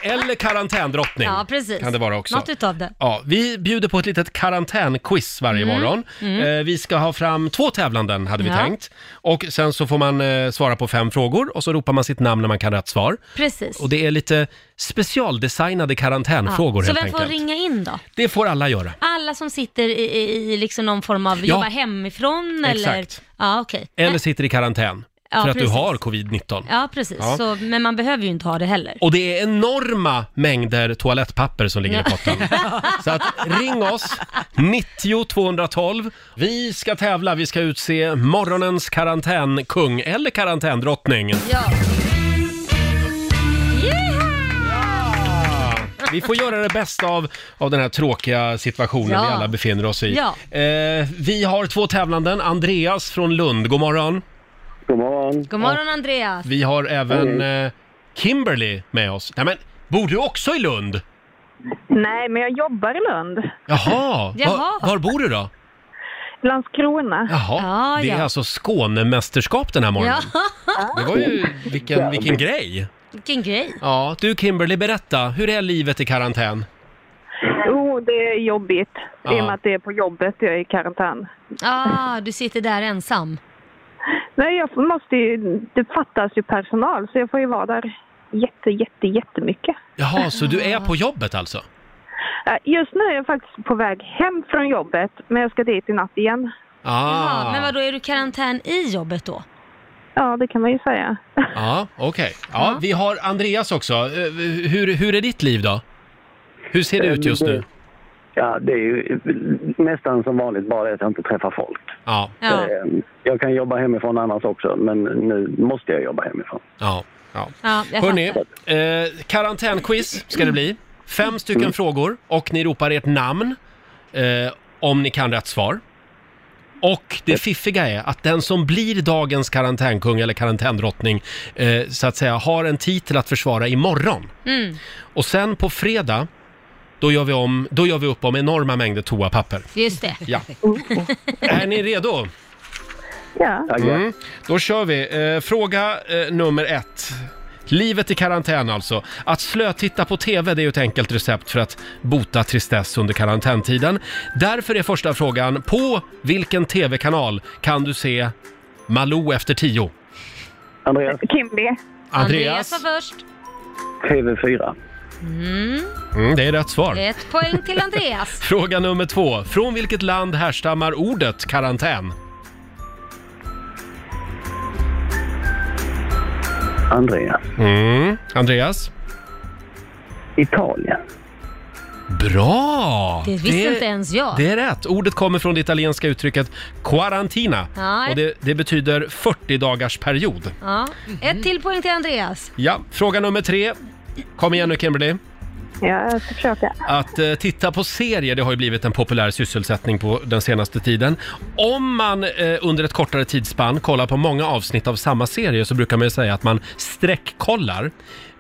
Speaker 1: Eller karantändrottning
Speaker 2: Ja, precis.
Speaker 1: kan det vara också.
Speaker 2: Något utav det.
Speaker 1: Ja, vi bjuder på ett litet karantänquiz varje morgon. Eh, vi ska ha fram två tävlanden hade vi
Speaker 2: Mm. Ja.
Speaker 1: tänkt. Och sen så får man eh, svara på fem frågor och så ropar man sitt namn när man kan rätt svar.
Speaker 2: Precis.
Speaker 1: Och det är lite specialdesignade karantänfrågor
Speaker 2: Så
Speaker 1: helt
Speaker 2: vem får
Speaker 1: enkelt.
Speaker 2: ringa in då?
Speaker 1: Det får alla göra.
Speaker 2: Alla som sitter i, i, i liksom någon form av, jobbar hemifrån eller?
Speaker 1: Exakt.
Speaker 2: Ja, okej.
Speaker 1: Eller sitter i karantän
Speaker 2: Ja,
Speaker 1: för att
Speaker 2: precis.
Speaker 1: du har covid-19.
Speaker 2: Ja, precis.
Speaker 1: Ja.
Speaker 2: Så, men man behöver ju inte ha det heller.
Speaker 1: Och det är enorma mängder toalettpapper som ligger i potten. Så att ring oss, 90 212. Vi ska tävla, vi ska utse morgonens karantänkung eller karantändrottning.
Speaker 2: Ja.
Speaker 1: Vi får göra det bästa av, av den här tråkiga situationen
Speaker 2: Ja.
Speaker 1: vi alla befinner oss i.
Speaker 2: Ja.
Speaker 1: Eh, vi har två tävlanden, Andreas från Lund, god morgon.
Speaker 7: God morgon.
Speaker 2: God morgon Andreas.
Speaker 1: Vi har även eh, Kimberly med oss. Nej men, bor du också i Lund?
Speaker 8: Nej, men jag jobbar i Lund.
Speaker 1: Jaha,
Speaker 2: Jaha.
Speaker 1: Var, var bor du då?
Speaker 8: Landskrona.
Speaker 1: Jaha,
Speaker 2: Ja,
Speaker 1: det är
Speaker 2: ja.
Speaker 1: alltså Skånemästerskap den här
Speaker 2: Ja,
Speaker 1: morgonen. Det var ju, vilken, vilken grej!
Speaker 2: vilken grej.
Speaker 1: Ja, du Kimberly, berätta, hur är livet i karantän?
Speaker 8: Jo, Oh, det är jobbigt. I
Speaker 1: Ja.
Speaker 8: och med att det är på jobbet jag är i karantän.
Speaker 2: Ah, du sitter där ensam.
Speaker 8: Nej, jag måste ju... Det fattas ju personal, så jag får ju vara där jätte, jätte, jättemycket.
Speaker 1: Jaha, så du är på jobbet alltså?
Speaker 8: Eh, Just nu är jag faktiskt på väg hem från jobbet, men jag ska dit i natt igen.
Speaker 1: Ah,
Speaker 2: Ja, men vadå, är du i karantän i jobbet då?
Speaker 8: Ja, det kan man ju säga.
Speaker 1: Ja, okej. Ja, vi har Andreas också. Eh, Hur, hur är ditt liv då? Hur ser det ut just nu?
Speaker 7: Ja, det är ju nästan som vanligt, bara det att jag inte träffar folk.
Speaker 1: Ja,
Speaker 2: Ja,
Speaker 7: Eh, Jag kan jobba hemifrån annars också, men nu måste jag jobba hemifrån.
Speaker 1: ja, ja.
Speaker 2: ja jag
Speaker 1: Hörni,
Speaker 2: fattar.
Speaker 1: eh, karantänquiz ska det bli. Fem stycken frågor och ni ropar ert namn eh, om ni kan rätt svar. Och det fiffiga är att den som blir dagens karantänkung eller karantändrottning eh, så att säga har en titel att försvara imorgon.
Speaker 2: Mm,
Speaker 1: Och sen på fredag, då gör vi, om, då gör vi upp om enorma mängder toapapper.
Speaker 2: just det.
Speaker 1: Ja. Är ni redo?
Speaker 8: Ja.
Speaker 7: Tack.
Speaker 1: Mm. Då kör vi. Eh, fråga eh, nummer ett. Livet i karantän alltså. Att slötitta på TV det är ju ett enkelt recept för att bota tristess under karantäntiden. Därför är första frågan, på vilken TV-kanal kan du se Malou efter tio?
Speaker 7: Andreas,
Speaker 8: Kimby.
Speaker 1: Andreas?
Speaker 2: var först.
Speaker 7: TV4.
Speaker 1: Mm, det är rätt svar.
Speaker 2: Ett poäng till Andreas.
Speaker 1: Fråga nummer två. Från vilket land härstammar ordet karantän?
Speaker 7: Andreas,
Speaker 1: Mm. Andreas?
Speaker 7: Italien.
Speaker 1: Bra!
Speaker 2: Det visste inte ens jag.
Speaker 1: Det är rätt. Ordet kommer från det italienska uttrycket quarantina.
Speaker 2: Ja.
Speaker 1: Och det, det betyder 40 dagars period.
Speaker 2: Ja. Ett till poäng till Andreas.
Speaker 1: Ja, fråga nummer tre. Kom igen nu Kimberly.
Speaker 8: Ja, jag ska försöka.
Speaker 1: Att eh, titta på serier, det har ju blivit en populär sysselsättning på den senaste tiden. Om man eh, under ett kortare tidsspann kollar på många avsnitt av samma serie så brukar man ju säga att man streckkollar.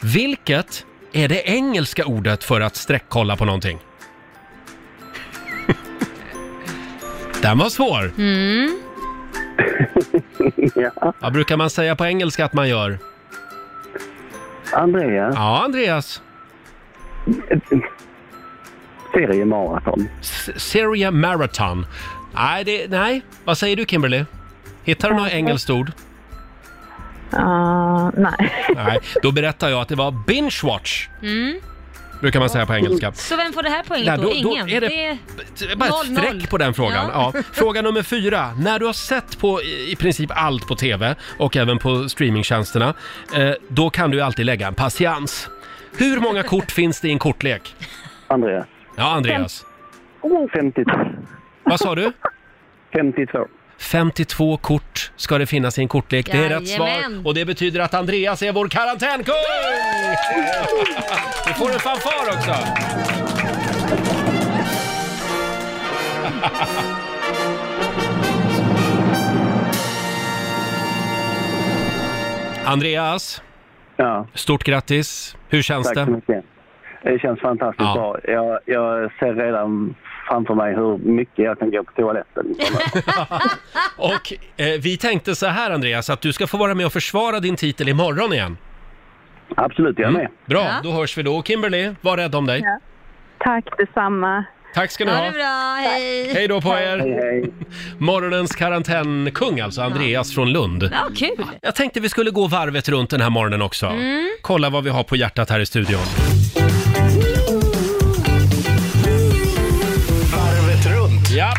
Speaker 1: Vilket är det engelska ordet för att streckkolla på någonting? Den var svår.
Speaker 7: Ja.
Speaker 1: Vad brukar man säga på engelska att man gör?
Speaker 7: Andreas,
Speaker 1: Ja, Andreas.
Speaker 7: seriemaraton.
Speaker 1: S- Serie Marathon. Nej, det, nej. Vad säger du Kimberly? Hittar du något engelskt ord?
Speaker 8: Ah, nej.
Speaker 1: Nej, då berättar jag att det var binge-watch.
Speaker 2: Mm.
Speaker 1: Brukar man säga på engelska.
Speaker 2: Så vem får det här poänget
Speaker 1: Nej,
Speaker 2: då?
Speaker 1: då, då
Speaker 2: Ingen?
Speaker 1: är det, bara ett
Speaker 2: noll, noll.
Speaker 1: streck på den frågan. Ja.
Speaker 2: Ja.
Speaker 1: Fråga nummer fyra. När du har sett på i i princip allt på TV och även på streamingtjänsterna, eh, då kan du ju alltid lägga en patiens. Hur många kort finns det i en kortlek?
Speaker 7: Andreas.
Speaker 1: Ja, Andreas.
Speaker 7: 52.
Speaker 1: Vad sa du?
Speaker 7: 52.
Speaker 1: 52 kort ska det finnas i en kortlek. Det är rätt svar.
Speaker 2: Jajamän.
Speaker 1: Och det betyder att Andreas är vår karantänkung! Du får en fanfar också! Andreas,
Speaker 7: Ja,
Speaker 1: stort grattis! Hur känns
Speaker 7: tack
Speaker 1: det?
Speaker 7: så mycket. Det känns fantastiskt
Speaker 1: Ja.
Speaker 7: bra. Jag, jag ser redan framför mig hur mycket jag kan gå på toaletten.
Speaker 1: Och eh, vi tänkte så här Andreas, att du ska få vara med och försvara din titel imorgon igen.
Speaker 7: Absolut, jag är med.
Speaker 1: Bra,
Speaker 2: Ja.
Speaker 1: då hörs vi då. Kimberly, var rädd om dig.
Speaker 8: Tack detsamma.
Speaker 1: Tack ska ni
Speaker 2: Ja, det
Speaker 1: ha.
Speaker 2: är bra. Hej.
Speaker 1: Hej då på
Speaker 7: Hej,
Speaker 1: er!
Speaker 7: hej.
Speaker 1: Morgonens karantänkung alltså, Andreas från Lund.
Speaker 2: Ja, kul.
Speaker 1: Jag tänkte vi skulle gå varvet runt den här morgonen också. Kolla vad vi har på hjärtat här i studion.
Speaker 3: Varvet runt.
Speaker 1: Ja.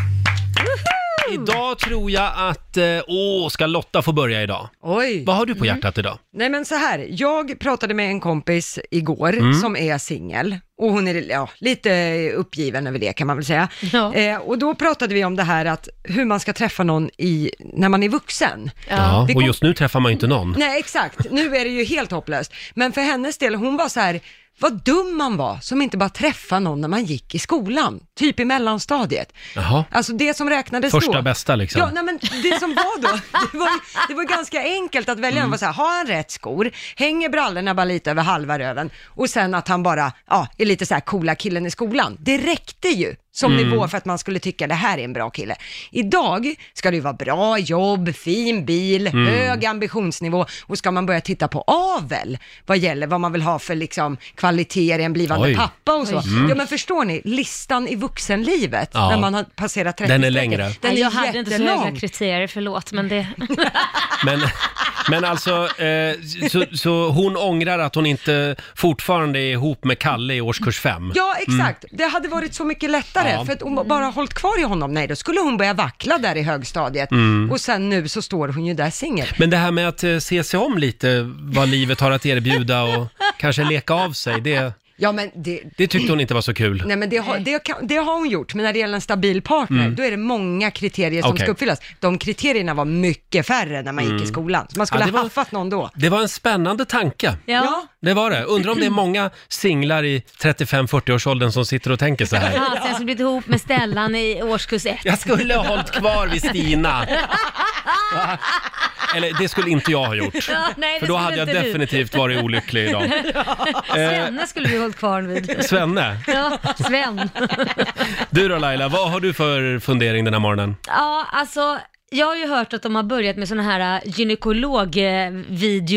Speaker 1: Idag tror jag att, eh, åh, ska Lotta få börja idag?
Speaker 5: Oj.
Speaker 1: Vad har du på hjärtat idag?
Speaker 5: Nej men så här, jag pratade med en kompis igår
Speaker 1: Mm.
Speaker 5: som är singel och hon är ja, lite uppgiven över det kan man väl säga.
Speaker 2: Ja.
Speaker 5: Eh, och då pratade vi om det här att hur man ska träffa någon i, när man är vuxen.
Speaker 1: Ja,
Speaker 5: Vi
Speaker 1: och
Speaker 5: kom-
Speaker 1: just nu träffar man ju inte någon.
Speaker 5: Nej exakt, nu är det ju helt hopplöst. Men för hennes del, hon var så här, vad dum man var som inte bara träffade någon när man gick i skolan, typ i mellanstadiet.
Speaker 1: Jaha.
Speaker 5: Alltså det som räknades då.
Speaker 1: Första bästa, liksom.
Speaker 5: Ja, nej, men det som var då, det var, ju- det var ganska enkelt att välja. Mm. Var så här, har han rätt skor? Hänger brallorna bara lite över halva röven? Och sen att han bara ja, är lite så här coola killen i skolan. Det räckte ju som
Speaker 1: Mm.
Speaker 5: nivå för att man skulle tycka det här är en bra kille. Idag ska det ju vara bra jobb, fin bil,
Speaker 1: Mm.
Speaker 5: hög ambitionsnivå och ska man börja titta på avel vad gäller vad man vill ha för liksom kvaliteter i en blivande
Speaker 1: Oj. Mm.
Speaker 5: pappa och så. Ja men förstår ni, listan i vuxenlivet
Speaker 1: Ja.
Speaker 5: när man har passerat 30
Speaker 1: Den är längre.
Speaker 5: Den är
Speaker 2: jag hade inte så höga
Speaker 5: jättelång.
Speaker 2: kriterier, förlåt, men det...
Speaker 1: Men, men alltså, eh, så, så hon ångrar att hon inte fortfarande är ihop med Kalle i årskurs fem.
Speaker 5: Ja, exakt. Det hade varit så mycket lättare
Speaker 1: Mm. Ja.
Speaker 5: för att hon bara hållit kvar i honom. Nej, då skulle hon börja vackla där i högstadiet.
Speaker 1: Mm.
Speaker 5: Och sen nu så står hon ju där singel.
Speaker 1: Men det här med att eh, se sig om lite, vad livet har att erbjuda och kanske leka av sig, det,
Speaker 5: Ja, men det,
Speaker 1: det tyckte hon inte var så kul.
Speaker 5: nej, men det, har, det, kan, det har hon gjort. Men när det gäller en stabil partner, då är det många kriterier
Speaker 1: Mm.
Speaker 5: som
Speaker 1: Okej. Mm.
Speaker 5: ska uppfyllas. De kriterierna var mycket färre när man gick i skolan. Så man skulle
Speaker 1: Ja, det var-
Speaker 5: ha haffat någon då.
Speaker 1: Det var en spännande tanke.
Speaker 2: Ja.
Speaker 1: Det var det. Undrar om det är många singlar i 35-40-årsåldern som sitter och tänker så här.
Speaker 2: Fasen, jag skulle blivit ihop med Stellan i årskurs ett.
Speaker 1: Jag skulle ha hållit kvar vid Stina. Va? Eller det skulle inte jag ha gjort.
Speaker 2: Ja, nej, det
Speaker 1: För då
Speaker 2: skulle
Speaker 1: hade jag
Speaker 2: inte du.
Speaker 1: definitivt varit olycklig idag.
Speaker 2: Svenne skulle vi hållit kvar vid.
Speaker 1: Svenne,
Speaker 2: Eh. Ja, Sven.
Speaker 1: du då Laila, vad har du för fundering den här morgonen?
Speaker 2: Ja, alltså jag har ju hört att de har börjat med sådana här eh,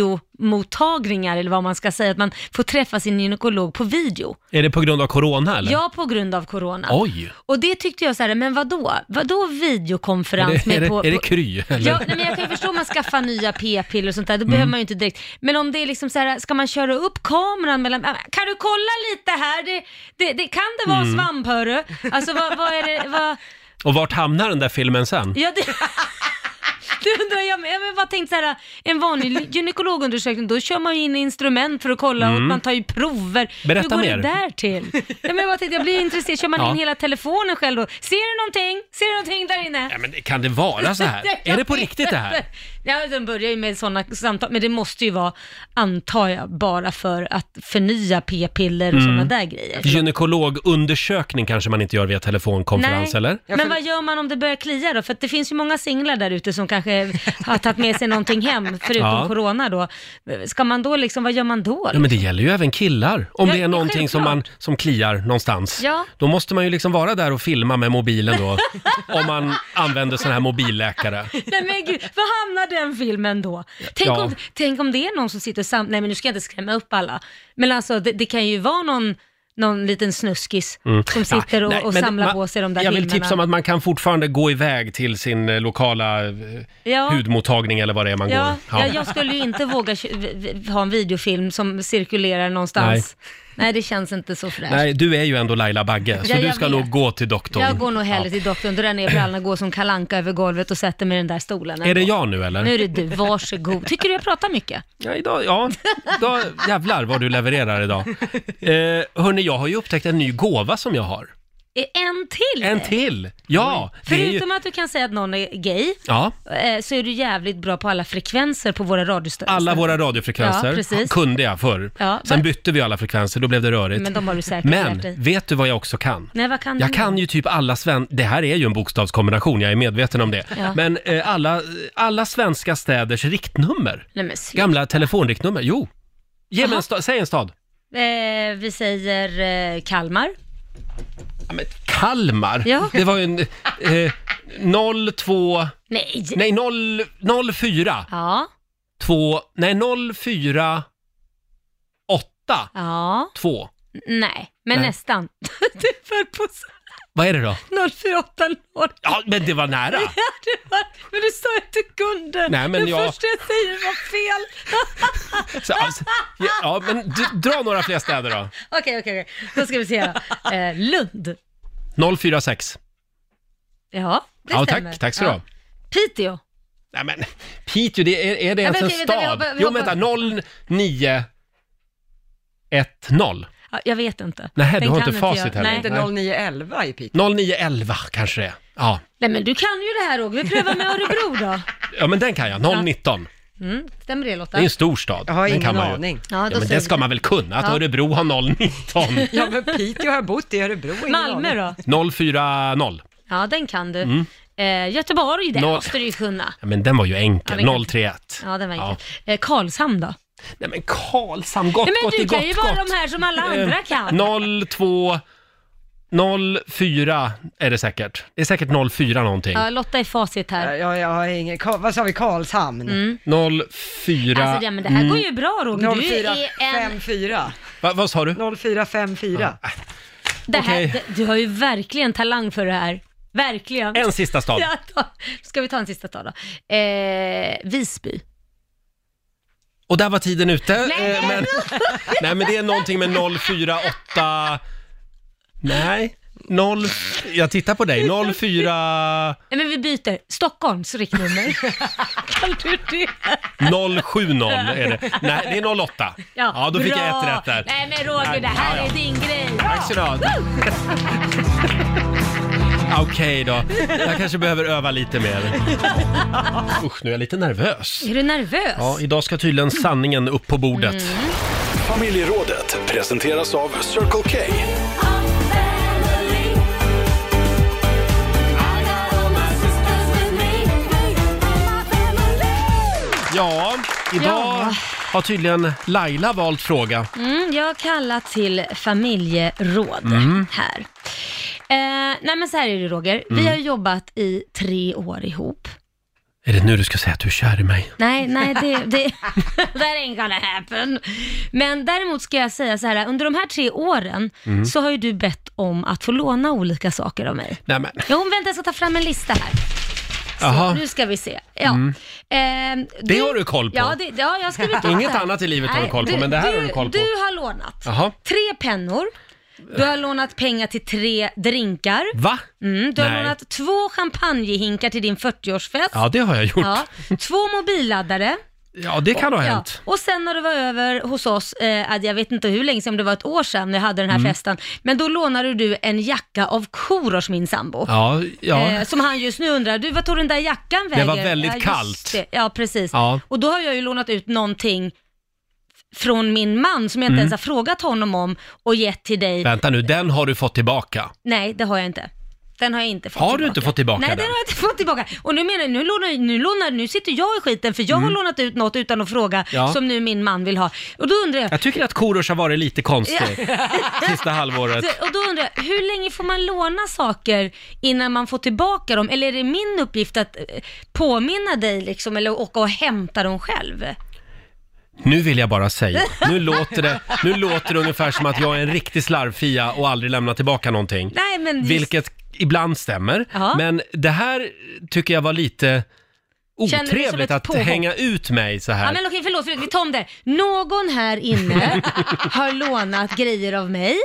Speaker 2: gynekologvideomottagningar eller vad man ska säga, att man får träffa sin gynekolog på video.
Speaker 1: Är det på grund av corona eller?
Speaker 2: Ja, på grund av corona.
Speaker 1: Oj!
Speaker 2: Och det tyckte jag så här, men vadå? Vadå
Speaker 1: Är
Speaker 2: videokonferens
Speaker 1: det, är
Speaker 2: med
Speaker 1: det,
Speaker 2: på...
Speaker 1: är det
Speaker 2: på-
Speaker 1: kry? Eller? Mm.
Speaker 2: Ja, nej, men jag kan ju förstå om man skaffar nya p-piller och sånt där, då behöver man ju inte direkt. Men om det är liksom så här, ska man köra upp kameran mellan, Ah, kan du kolla lite här, det, det, det kan det vara
Speaker 1: Mm.
Speaker 2: svamp hörru? Alltså vad, vad är det, vad,
Speaker 1: Och vart hamnar den där filmen sen?
Speaker 2: ja det... Det undrar jag med. Jag har bara tänkt så här, en vanlig gynekologundersökning, då kör man ju in instrument för att kolla och man tar ju prover.
Speaker 1: Mm. Berätta
Speaker 2: Hur går
Speaker 1: mer.
Speaker 2: det där till? Ja, men jag, bara tänkte, jag blir intresserad, kör man
Speaker 1: Ja.
Speaker 2: in hela telefonen själv då? Ser du någonting? Ser du någonting där inne?
Speaker 1: Ja, men kan det vara så här? är det på
Speaker 2: Jag
Speaker 1: riktigt
Speaker 2: vet
Speaker 1: det här?
Speaker 2: inte. Ja, de börjar ju med sådana samtal, men det måste ju vara, antar jag, bara för att förnya p-piller
Speaker 1: Mm.
Speaker 2: och sådana där grejer.
Speaker 1: Gynekologundersökning kanske man inte gör via telefonkonferens eller?
Speaker 2: men vad gör man om det börjar klia då? För att det finns ju många singlar där ute som kanske har tagit med sig någonting hem, förutom
Speaker 1: Ja.
Speaker 2: corona då. Ska man då liksom, vad gör man då?
Speaker 1: Ja, men det gäller ju även killar. Om
Speaker 2: Ja,
Speaker 1: det är
Speaker 2: det är
Speaker 1: någonting som, man,
Speaker 2: självklart.
Speaker 1: som kliar någonstans.
Speaker 2: Ja.
Speaker 1: Då måste man ju liksom vara där och filma med mobilen då. om man använder sån här mobilläkare.
Speaker 2: Nej men gud, var hamnar den filmen då? Tänk,
Speaker 1: Ja.
Speaker 2: om, tänk om det är någon som sitter sam... Nej men nu ska jag inte skrämma upp alla. Men alltså det, det kan ju vara någon någon liten snuskis som
Speaker 1: Ja,
Speaker 2: sitter och,
Speaker 1: Mm. nej,
Speaker 2: och
Speaker 1: men
Speaker 2: samlar
Speaker 1: man-
Speaker 2: på sig de där
Speaker 1: Jag vill
Speaker 2: filmerna.
Speaker 1: tipsa om att man kan fortfarande gå iväg till sin eh, lokala eh,
Speaker 2: Ja.
Speaker 1: hudmottagning eller vad det är man
Speaker 2: Ja,
Speaker 1: går.
Speaker 2: ja, jag skulle ju inte våga kö- v- v- ha en videofilm som cirkulerar någonstans. Nej, det känns inte så fräscht.
Speaker 1: Nej, du är ju ändå Laila Bagge, så
Speaker 2: Ja,
Speaker 1: du
Speaker 2: jag
Speaker 1: ska
Speaker 2: vet.
Speaker 1: nog gå till doktorn.
Speaker 2: Jag går nog hellre till doktorn, drar ner brallorna, går som kalanka över golvet och sätter mig i den där stolen.
Speaker 1: Är det jag nu eller?
Speaker 2: Nu är det du, varsågod. Tycker du jag pratar mycket?
Speaker 1: Ja, idag, ja. Idag, jävlar vad du levererar idag. Eh, hörni, jag har ju upptäckt en ny gåva som jag har.
Speaker 2: Eh, En till!
Speaker 1: En till! Ja! det är ju-
Speaker 2: Förutom att du kan säga att någon är gay,
Speaker 1: Ja,
Speaker 2: eh, så är du jävligt bra på alla frekvenser på våra radiostationer.
Speaker 1: alla våra radiofrekvenser
Speaker 2: Ja, precis.
Speaker 1: kunde jag förr.
Speaker 2: Ja,
Speaker 1: Sen
Speaker 2: va-
Speaker 1: bytte vi alla frekvenser, då blev det rörigt.
Speaker 2: Men de har du säkert lärt dig.
Speaker 1: Men vet du vad jag också kan?
Speaker 2: Nej, vad kan
Speaker 1: Jag
Speaker 2: du?
Speaker 1: kan ju typ alla sven... Det här är ju en bokstavskombination, jag är medveten om det.
Speaker 2: Ja.
Speaker 1: Men eh, alla, alla svenska städers riktnummer.
Speaker 2: Nej, men sluta.
Speaker 1: Gamla telefonriktnummer. Jo. Ge mig en sta- säg en stad.
Speaker 2: eh, vi säger eh, Kalmar.
Speaker 1: Ja, men Kalmar.
Speaker 2: Ja.
Speaker 1: Det var ju en... Eh, 02...
Speaker 2: Nej!
Speaker 1: Nej, 0, 04.
Speaker 2: Ja,
Speaker 1: 2... Nej, 04... 8.
Speaker 2: ja,
Speaker 1: 2.
Speaker 2: nej, men
Speaker 1: Nej.
Speaker 2: nästan. du föll på s-
Speaker 1: Vad är det då?
Speaker 2: 048 0.
Speaker 1: Ja, men det var nära.
Speaker 2: Ja, det var, men du sa inte kunden.
Speaker 1: Nej, men
Speaker 2: det
Speaker 1: jag-
Speaker 2: första jag säger var fel.
Speaker 1: Så, alltså, ja, ja, men d- dra några fler städer då.
Speaker 2: Okej, okej, okej. Då ska vi se då. Eh, Lund.
Speaker 1: 046.
Speaker 2: Ja, det
Speaker 1: Ja,
Speaker 2: stämmer.
Speaker 1: tack. Tack ska du ha.
Speaker 2: Ja. Piteå.
Speaker 1: Nej men, Piteå, det är, är det ens
Speaker 2: men
Speaker 1: en
Speaker 2: okej, vänta, vi
Speaker 1: stad?
Speaker 2: hoppar- vi
Speaker 1: Jo,
Speaker 2: hoppar-
Speaker 1: vänta, 0910.
Speaker 2: Ja, jag vet inte.
Speaker 1: Nej, du
Speaker 2: Den
Speaker 1: har
Speaker 2: kan
Speaker 1: inte facit
Speaker 2: jag.
Speaker 1: heller.
Speaker 2: Nej.
Speaker 5: Inte
Speaker 1: Nej.
Speaker 5: 0911 i Piteå.
Speaker 1: 0911 kanske det är. Ja.
Speaker 2: Nej, men du kan ju det här Roger. Vi prövar med Örebro då.
Speaker 1: ja, men den kan jag. 019.
Speaker 2: Mm, stämmer det Lotta?
Speaker 1: Det är en stor stad.
Speaker 5: Jag har
Speaker 1: den
Speaker 5: ingen
Speaker 1: kan man ju.
Speaker 5: aning.
Speaker 2: Ja, då
Speaker 1: Ja, men
Speaker 2: säger
Speaker 1: det
Speaker 2: vi-
Speaker 1: ska man väl kunna, att
Speaker 2: Ja.
Speaker 1: Örebro har 019.
Speaker 5: Ja, men Piteå har jag bott i, Örebro ingen
Speaker 2: Malmö
Speaker 5: aning.
Speaker 2: då?
Speaker 1: 040.
Speaker 2: Ja, den kan du.
Speaker 1: Mm.
Speaker 2: Eh, Göteborg, den
Speaker 1: Noll.
Speaker 2: måste du ju kunna.
Speaker 1: Ja, men den var ju
Speaker 2: Ja,
Speaker 1: enkel.
Speaker 2: den kan-
Speaker 1: 031.
Speaker 2: Ja, den var
Speaker 1: Ja.
Speaker 2: enkel. Eh, Karlshamn då?
Speaker 1: Nej men Karlshamn, gott,
Speaker 2: Nej, men
Speaker 1: gott, i
Speaker 2: du
Speaker 1: gott,
Speaker 2: kan ju vara
Speaker 1: gott. Eh,
Speaker 2: de här som alla andra kan.
Speaker 1: 02... 04 är det säkert. Det är säkert 04 någonting.
Speaker 2: Ja, Lotta är facit här.
Speaker 5: Ja, jag har ingen, Ka- vad sa vi, Karlshamn?
Speaker 1: 04...
Speaker 2: Alltså, ja, men det
Speaker 1: Mm.
Speaker 2: här går ju bra Roger. Du är en...
Speaker 5: 0454.
Speaker 1: Va, vad sa du?
Speaker 5: 0454.
Speaker 2: Det här,
Speaker 1: Okej.
Speaker 2: det- Du har ju verkligen talang för det här. Verkligen.
Speaker 1: En sista stad.
Speaker 2: Ja, då. Ska vi ta en sista dag då? Eh, Visby.
Speaker 1: Och där var tiden ute.
Speaker 2: Nej,
Speaker 1: eh, men, nej, men det är någonting med 048... Nej, 0... Jag tittar på dig. 04...
Speaker 2: Nej men vi byter. Stockholms riktnummer. kan du det?
Speaker 1: 070 är det. Nej, det är 08. Ja, då fick jag ett rätt där.
Speaker 2: Nej men Roger,
Speaker 1: Nej,
Speaker 2: det här
Speaker 1: ja, ja.
Speaker 2: är din grej.
Speaker 1: Tack ska du ha. Okej då, jag kanske behöver öva lite mer. Usch, nu är jag lite nervös.
Speaker 2: Är du nervös?
Speaker 1: Ja, idag ska tydligen sanningen upp på bordet.
Speaker 2: Mm.
Speaker 3: Familjerådet presenteras av Circle K.
Speaker 1: Ja, idag
Speaker 2: Ja.
Speaker 1: har tydligen Laila valt fråga.
Speaker 2: Mm, jag har kallat till familjeråd
Speaker 1: Mm.
Speaker 2: här. Eh, nej men så här är det Roger, vi har jobbat i tre år ihop.
Speaker 1: Är det nu du ska säga att du är kär i mig?
Speaker 2: Nej, nej, det, det that ain't gonna happen. Men däremot ska jag säga så här, under de här tre åren
Speaker 1: Mm.
Speaker 2: så har ju du bett om att få låna olika saker av mig.
Speaker 1: Nej men,
Speaker 2: Jo, vänta, jag ska ta fram en lista här. Så,
Speaker 1: Jaha. Mm.
Speaker 2: Nu ska vi se. Ja. Ehm,
Speaker 1: Det har du koll på.
Speaker 2: Ja, det, ja jag har skrivit upp
Speaker 1: Inget
Speaker 2: här.
Speaker 1: annat i livet har du koll på, men det här har du koll på.
Speaker 2: Du har lånat
Speaker 1: Jaha.
Speaker 2: tre pennor, du har lånat pengar till tre drinkar,
Speaker 1: va?
Speaker 2: mm, du har
Speaker 1: Nej.
Speaker 2: lånat två champagnehinkar till din 40-årsfest,
Speaker 1: Ja, det har jag gjort. Ja,
Speaker 2: Ja, två mobilladdare.
Speaker 1: det kan ha
Speaker 2: Ja,
Speaker 1: hänt.
Speaker 2: och sen när du var över hos oss, eh, jag vet inte hur länge sedan, om det var ett år sedan när jag hade den här
Speaker 1: Mm.
Speaker 2: festen, men då lånade du en jacka av Korosh, min sambo.
Speaker 1: Ja, ja.
Speaker 2: Eh, som han just nu undrar, du vad tog den där jackan vägen?
Speaker 1: var väldigt
Speaker 2: just
Speaker 1: kallt.
Speaker 2: det. Ja, precis.
Speaker 1: Ja.
Speaker 2: Och då har jag ju lånat ut någonting f- från min man som jag
Speaker 1: Mm.
Speaker 2: inte ens har frågat honom om och gett till dig.
Speaker 1: Vänta nu, den har du fått tillbaka.
Speaker 2: Nej, det har jag inte. Den har jag inte fått
Speaker 1: Har du
Speaker 2: tillbaka.
Speaker 1: inte fått tillbaka
Speaker 2: Nej,
Speaker 1: den?
Speaker 2: den har jag inte fått tillbaka. Och nu menar jag, nu lånar, nu lånar, nu sitter jag i skiten för jag har lånat ut något utan att fråga
Speaker 1: Mm. Ja.
Speaker 2: som nu min man vill ha. Och då undrar jag,
Speaker 1: Jag tycker att Korosh har varit lite konstig sista halvåret.
Speaker 2: och då undrar jag, hur länge får man låna saker innan man får tillbaka dem? Eller är det min uppgift att eh, påminna dig liksom, eller åka och hämta dem själv?
Speaker 1: Nu vill jag bara säga, nu låter det, nu låter det ungefär som att jag är en riktig slarvfia och aldrig lämnar tillbaka någonting.
Speaker 2: Nej, men just-
Speaker 1: Vilket ibland stämmer,
Speaker 2: Ja.
Speaker 1: men det här tycker jag var lite
Speaker 2: det som
Speaker 1: otrevligt
Speaker 2: ett
Speaker 1: att
Speaker 2: påhopp?
Speaker 1: hänga ut mig så här.
Speaker 2: Ja, men okej, förlåt, förlåt, vi tar om det. Någon här inne har lånat grejer av mig.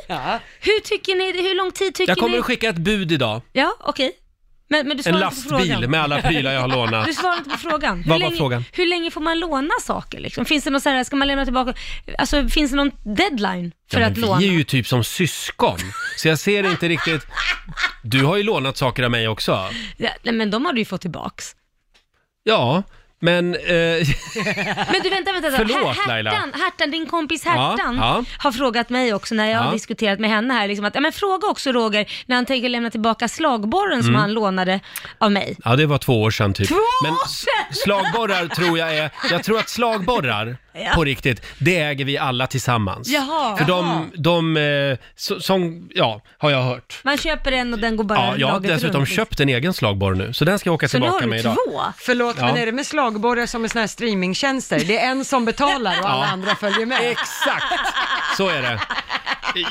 Speaker 2: Hur tycker ni, hur lång tid tycker
Speaker 1: jag kommer
Speaker 2: ni?
Speaker 1: att skicka ett bud idag,
Speaker 2: Ja, okej. Men, men du
Speaker 1: en
Speaker 2: svarar inte på
Speaker 1: lastbil
Speaker 2: frågan.
Speaker 1: med alla prylar jag har lånat.
Speaker 2: Du svarar inte på frågan. Hur
Speaker 1: Vad var
Speaker 2: länge,
Speaker 1: frågan?
Speaker 2: Hur länge får man låna saker liksom? Finns det någon så här, ska man lämna tillbaka? Alltså finns det någon deadline för
Speaker 1: Ja, men
Speaker 2: att låna?
Speaker 1: Vi är ju typ som syskon, så jag ser inte riktigt... Du har ju lånat saker av mig också.
Speaker 2: Ja, nej, men de har du ju fått tillbaks.
Speaker 1: Ja, men... Eh,
Speaker 2: Men du vänta, vänta.
Speaker 1: Förlåt,
Speaker 2: Här-
Speaker 1: Laila.
Speaker 2: Hertan, Hertan, din kompis Hertan
Speaker 1: ja.
Speaker 2: har frågat mig också när jag
Speaker 1: Ja.
Speaker 2: har diskuterat med henne här, liksom att, ja, men fråga också Roger när han tänker lämna tillbaka slagborren som
Speaker 1: Mm.
Speaker 2: han lånade av mig.
Speaker 1: ja, det var två år sedan typ.
Speaker 2: Två år
Speaker 1: men s- slagborrar tror jag är... Jag tror att slagborrar,
Speaker 2: Ja.
Speaker 1: på riktigt, det äger vi alla tillsammans.
Speaker 2: Jaha.
Speaker 1: För de, de eh, så, som, ja, har jag hört.
Speaker 2: Man köper en och den går bara
Speaker 1: Ja, jag har
Speaker 2: laget
Speaker 1: dessutom
Speaker 2: runt, liksom.
Speaker 1: köpt en egen slagborr nu, så den ska jag åka
Speaker 2: Så nu har
Speaker 1: tillbaka med
Speaker 2: du
Speaker 1: idag.
Speaker 2: två.
Speaker 5: Förlåt,
Speaker 1: Ja.
Speaker 5: men är det med slagborrar som med såna här streamingtjänster? Det är en som betalar och alla
Speaker 1: Ja.
Speaker 5: andra följer med.
Speaker 1: Exakt, så är det.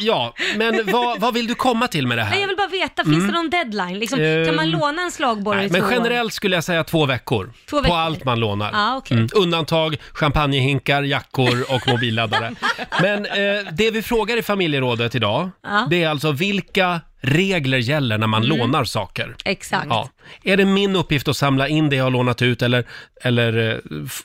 Speaker 1: Ja, men vad, vad vill du komma till med det här?
Speaker 2: Nej, jag vill bara veta, finns det någon deadline? Liksom,
Speaker 1: Ehm,
Speaker 2: kan man låna en slagborre i
Speaker 1: Mm. Nej,
Speaker 2: två
Speaker 1: men
Speaker 2: år?
Speaker 1: generellt skulle jag säga två veckor,
Speaker 2: Två veckor.
Speaker 1: på allt man lånar. Mm.
Speaker 2: Ah, okej.
Speaker 1: Undantag champagnehinkar, jackor och mobilladdare. men eh, det vi frågar i familjerådet idag,
Speaker 2: Ja. Mm.
Speaker 1: det är alltså vilka regler gäller när man lånar saker?
Speaker 2: Exakt.
Speaker 1: Ja. Är det min uppgift att samla in det jag har lånat ut eller, eller eh, f-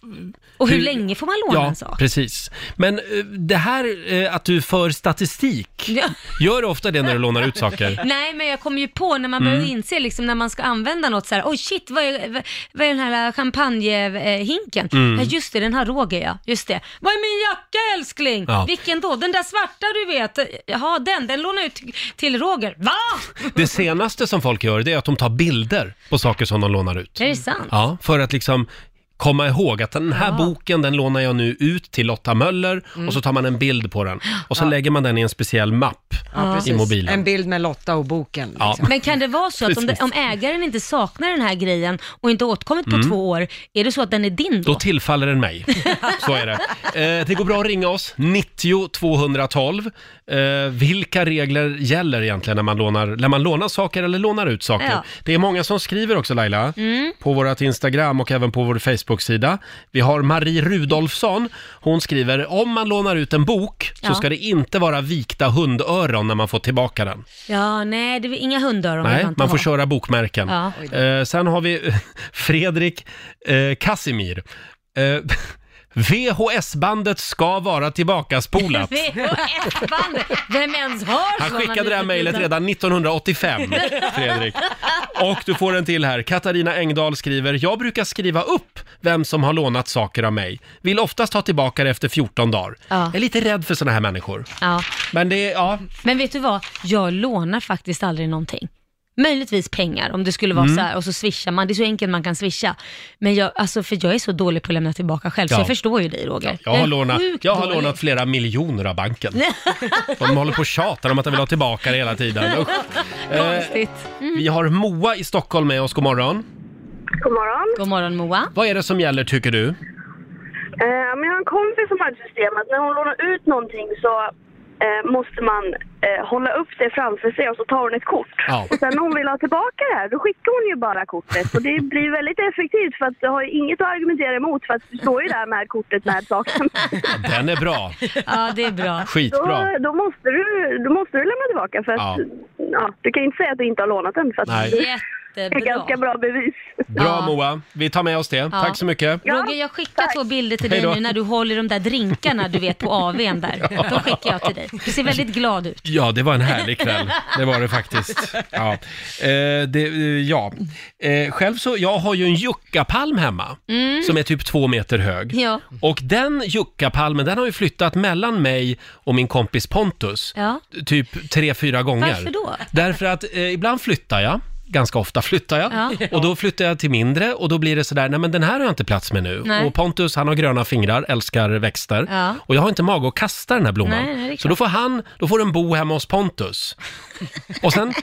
Speaker 2: Och hur,
Speaker 1: Hur-
Speaker 2: länge får man låna en sak?
Speaker 1: precis. Men eh, det här eh, att du för statistik,
Speaker 2: Ja.
Speaker 1: gör du ofta det när du lånar ut saker?
Speaker 2: Nej, men jag kom ju på när man
Speaker 1: Mm.
Speaker 2: började inse liksom, när man ska använda något så här, oj shit, vad är, vad- vad är den här champagnehinken?
Speaker 1: Mm.
Speaker 2: Ja, just det, den har Roger ja, just det. Vad är min jacka älskling?
Speaker 1: Ja.
Speaker 2: Vilken då? Den där svarta du vet? Jaha, den, den lånar jag ut till Roger. Va?
Speaker 1: Det senaste som folk gör det är att de tar bilder på saker som de lånar ut.
Speaker 2: Är det sant?
Speaker 1: Ja, för att liksom komma ihåg att den här boken, den lånar jag nu ut till Lotta Möller och så tar man en bild på den och så lägger man den i en speciell mapp i mobilen.
Speaker 5: En bild med Lotta och boken.
Speaker 1: Ja.
Speaker 5: Liksom.
Speaker 2: Men kan det vara så att om, det, om ägaren inte saknar den här grejen och inte åtkommit på två år, är det så att den är din då?
Speaker 1: Mm. Då tillfaller den mig. Så är det. Eh, det går bra att ringa oss, 90 212. Eh, vilka regler gäller egentligen när man, lånar, när man lånar saker eller lånar ut saker?
Speaker 2: Ja. Mm.
Speaker 1: Det är många som skriver också Laila, på vårt Instagram och även på vår Facebook-sida. Vi har Marie Rudolfsson, hon skriver om man lånar ut en bok så
Speaker 2: Ja.
Speaker 1: ska det inte vara vikta hundöron när man får tillbaka den.
Speaker 2: Ja, nej, det är inga hundöron
Speaker 1: Nej,
Speaker 2: inte
Speaker 1: man får
Speaker 2: ha.
Speaker 1: köra bokmärken.
Speaker 2: Ja.
Speaker 1: Eh, sen har vi Fredrik eh, Kassimir. Eh, VHS-bandet ska vara tillbakaspolat.
Speaker 2: VHS-bandet, vem ens har
Speaker 1: Han
Speaker 2: såna
Speaker 1: skickade det här
Speaker 2: nu för
Speaker 1: mejlet
Speaker 2: tiden?
Speaker 1: redan 1985, Fredrik. Och du får en till här. Katarina Engdahl skriver, jag brukar skriva upp vem som har lånat saker av mig. Vill oftast ta tillbaka det efter 14 dagar.
Speaker 2: Ja.
Speaker 1: Jag är lite rädd för sådana här människor.
Speaker 2: Ja.
Speaker 1: Men det är, ja,
Speaker 2: Men vet du vad, jag lånar faktiskt aldrig någonting. Möjligtvis pengar om det skulle
Speaker 1: Mm.
Speaker 2: vara så här och så swishar man, det är så enkelt man kan swisha. Men jag, alltså för jag är så dålig på att lämna tillbaka själv så
Speaker 1: Ja.
Speaker 2: jag förstår ju dig Roger.
Speaker 1: Jag har,
Speaker 2: är
Speaker 1: lånat,
Speaker 2: sjukt
Speaker 1: jag har
Speaker 2: dålig.
Speaker 1: lånat flera miljoner av banken. De håller på och tjatar om att de vill ha tillbaka det hela tiden. Usch. Eh, vi har Moa i Stockholm med oss, god morgon.
Speaker 8: God morgon.
Speaker 2: God morgon Moa.
Speaker 1: Vad är det som gäller tycker du?
Speaker 8: Eh, men jag har en kompis som har ett system att när hon lånar ut någonting så eh, måste man eh, hålla upp det framför sig och så tar hon ett kort.
Speaker 1: Ja.
Speaker 8: Och sen när hon vill ha tillbaka det här då skickar hon ju bara kortet och det blir väldigt effektivt för att du har ju inget att argumentera emot för att du står ju där med kortet med saken.
Speaker 1: Den är bra,
Speaker 2: Ja, det är bra.
Speaker 8: Då,
Speaker 1: skitbra.
Speaker 8: då, måste du, då måste du lämna tillbaka för att
Speaker 1: Ja.
Speaker 8: ja. du kan ju inte säga att du inte har lånat den för att
Speaker 1: Nej.
Speaker 8: det är ganska
Speaker 2: Jättebra.
Speaker 8: bra bevis.
Speaker 1: Bra
Speaker 2: Ja.
Speaker 1: Moa, vi tar med oss det. Tack så mycket.
Speaker 2: Roger, jag skickar två bilder till
Speaker 1: Hej
Speaker 2: dig
Speaker 1: då.
Speaker 2: nu när du håller de där drinkarna du vet på AWn där. De skickar jag till dig. Du ser väldigt glad ut.
Speaker 1: Ja, det var en härlig kväll. Det var det faktiskt. Ja. Eh, det, eh, ja. Eh, själv så, jag har ju en juckapalm hemma som är typ två meter hög.
Speaker 2: Mm. Ja.
Speaker 1: Och den juckapalmen, den har ju flyttat mellan mig och min kompis Pontus.
Speaker 2: Ja.
Speaker 1: Typ tre, fyra gånger.
Speaker 2: Varför då?
Speaker 1: Därför att eh, ibland flyttar jag. Ganska ofta flyttar jag
Speaker 2: Ja.
Speaker 1: och då flyttar jag till mindre och då blir det sådär, nej men den här har jag inte plats med nu.
Speaker 2: Nej.
Speaker 1: Och Pontus han har gröna fingrar, älskar växter
Speaker 2: Ja.
Speaker 1: och jag har inte mag att kasta den här blomman.
Speaker 2: Nej, nej, det är
Speaker 1: så då får han, då får den bo hemma hos Pontus. Och, sen,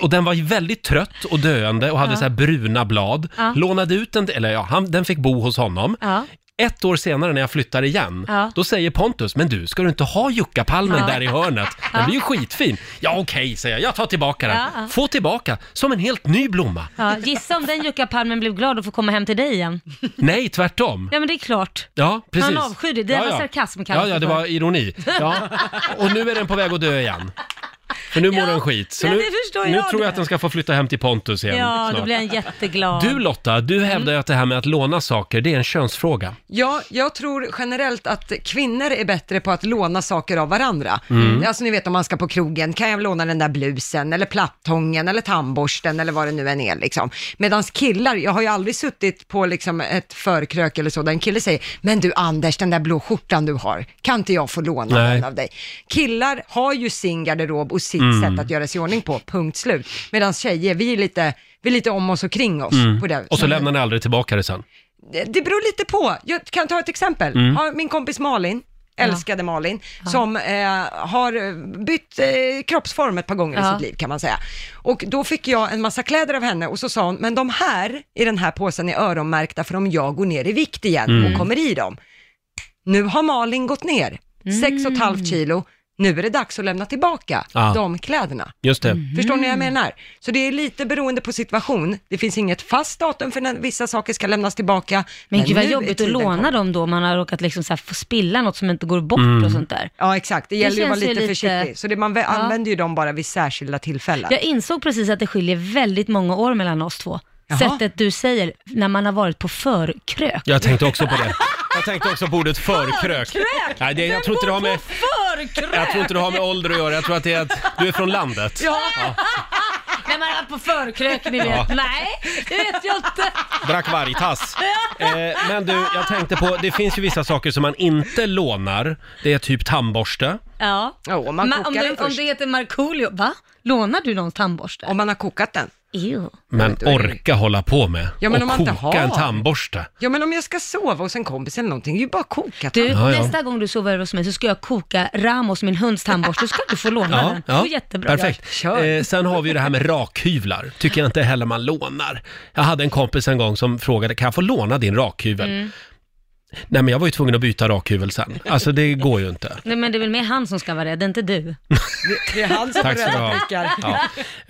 Speaker 1: och den var ju väldigt trött och döende och hade så här bruna blad.
Speaker 2: Ja.
Speaker 1: Lånade ut den, eller ja, han, den fick bo hos honom.
Speaker 2: Ja.
Speaker 1: Ett år senare när jag flyttar igen,
Speaker 2: Ja.
Speaker 1: då säger Pontus, men du, ska du inte ha juckapalmen
Speaker 2: Ja.
Speaker 1: där i hörnet? Den
Speaker 2: Ja.
Speaker 1: blir ju skitfin. Ja, okej, säger jag, jag tar tillbaka den.
Speaker 2: Ja, ja.
Speaker 1: Få tillbaka, som en helt ny blomma.
Speaker 2: Ja, gissa om den juckapalmen blev glad och får komma hem till dig igen.
Speaker 1: Nej, tvärtom.
Speaker 2: Ja men det är klart.
Speaker 1: Ja, precis.
Speaker 2: Han avskydde, det var sarkasm kallas
Speaker 1: Ja, ja, det
Speaker 2: för.
Speaker 1: var ironi. Ja. Och nu är den på väg att dö igen. För nu mår den skit. Så
Speaker 2: ja,
Speaker 1: nu,
Speaker 2: det förstår
Speaker 1: nu
Speaker 2: jag
Speaker 1: tror jag
Speaker 2: det.
Speaker 1: att den ska få flytta hem till Pontus igen
Speaker 2: Ja, då
Speaker 1: snart.
Speaker 2: blir Mm. han jätteglad.
Speaker 1: Du Lotta, du hävdar ju att det här med att låna saker, det är en könsfråga.
Speaker 5: Ja, jag tror generellt att kvinnor är bättre på att låna saker av varandra.
Speaker 1: Mm.
Speaker 5: Alltså ni vet om man ska på krogen, kan jag låna den där blusen eller plattången eller tandborsten eller vad det nu än är liksom. Medan killar, jag har ju aldrig suttit på liksom ett förkrök eller så, där en kille säger, men du Anders, den där blå skjortan du har, kan inte jag få låna
Speaker 1: Nej.
Speaker 5: den av dig? Killar har ju sin garderob och sitt
Speaker 1: Mm.
Speaker 5: sätt att göra sig i ordning på, punkt slut. Medan tjejer, vi är lite, vi är lite om oss och kring oss på det.
Speaker 1: Mm. Och så
Speaker 2: Mm.
Speaker 1: lämnar ni aldrig tillbaka det sen.
Speaker 5: Det det beror lite på. Jag kan ta ett exempel. Har Min kompis Malin, älskade Malin, som eh, har bytt eh, kroppsform ett par gånger
Speaker 2: Ja.
Speaker 5: i sitt liv kan man säga. Och då fick jag en massa kläder av henne och så sa hon, men de här i den här påsen är öronmärkta för om jag går ner i vikt igen och kommer i dem. Nu har Malin gått ner, sex och ett halvt kilo, nu är det dags att lämna tillbaka
Speaker 1: Ah.
Speaker 5: de kläderna.
Speaker 1: Just det.
Speaker 2: Mm.
Speaker 5: Förstår ni vad jag menar? Så det är lite beroende på situation. Det finns inget fast datum för när vissa saker ska lämnas tillbaka.
Speaker 2: Men gud vad
Speaker 5: nu är
Speaker 2: jobbigt att
Speaker 5: tiden
Speaker 2: låna
Speaker 5: kort.
Speaker 2: dem då, om man har råkat liksom så här få spilla något som inte går bort
Speaker 1: Mm.
Speaker 2: och sånt där.
Speaker 5: Ja, exakt. Det gäller ju att vara
Speaker 2: känns ju
Speaker 5: lite,
Speaker 2: lite-
Speaker 5: försiktig. Så det, man vä- använder ju dem bara vid särskilda tillfällen.
Speaker 2: Jag insåg precis att det skiljer väldigt många år mellan oss två.
Speaker 5: Jaha.
Speaker 2: Sättet du säger när man har varit på förkrök.
Speaker 1: Jag tänkte också på det. Jag tänkte också på ordet förkrök. Nej, det, jag, tror inte det har med,
Speaker 2: Förkrök!
Speaker 1: jag tror inte det har med ålder att göra. Jag tror att det är att du är från landet.
Speaker 2: När man är på förkrök, ni vet.
Speaker 1: Ja.
Speaker 2: Nej, det vet jag inte.
Speaker 1: Drack vargtass. Eh, men du, jag tänkte på, det finns ju vissa saker som man inte lånar. Det är typ tandborste.
Speaker 2: Ja.
Speaker 5: Ja, man
Speaker 2: Ma-
Speaker 5: kokar
Speaker 2: om,
Speaker 5: den
Speaker 2: du, om
Speaker 5: först.
Speaker 2: du heter Markoolio, va? Lånar du någons tandborste?
Speaker 5: Om man har kokat den.
Speaker 2: Ew.
Speaker 1: Men orka hålla på med
Speaker 5: Ja, men
Speaker 1: och
Speaker 5: om man inte
Speaker 1: koka
Speaker 5: har.
Speaker 1: en tandborste.
Speaker 5: Ja, men om jag ska sova hos en kompis eller någonting, det är ju bara att koka
Speaker 2: Du,
Speaker 5: den.
Speaker 1: Ja, ja.
Speaker 2: nästa gång du sover över hos mig så ska jag koka Ramos, min hunds tandborste, då ska du få låna den. Det går jättebra.
Speaker 1: Perfekt.
Speaker 5: Kör.
Speaker 1: Eh, sen har vi ju det här med rakhyvlar. Tycker jag inte heller man lånar. Jag hade en kompis en gång som frågade, kan jag få låna din rakhyvel?
Speaker 5: Mm.
Speaker 1: Nej men jag var ju tvungen att byta rakhyvel sen. Alltså det går ju inte.
Speaker 2: Nej, men det är väl mer han som ska vara rädd, inte du.
Speaker 5: Det- Det är han som
Speaker 1: Tack ska du ha. Ja.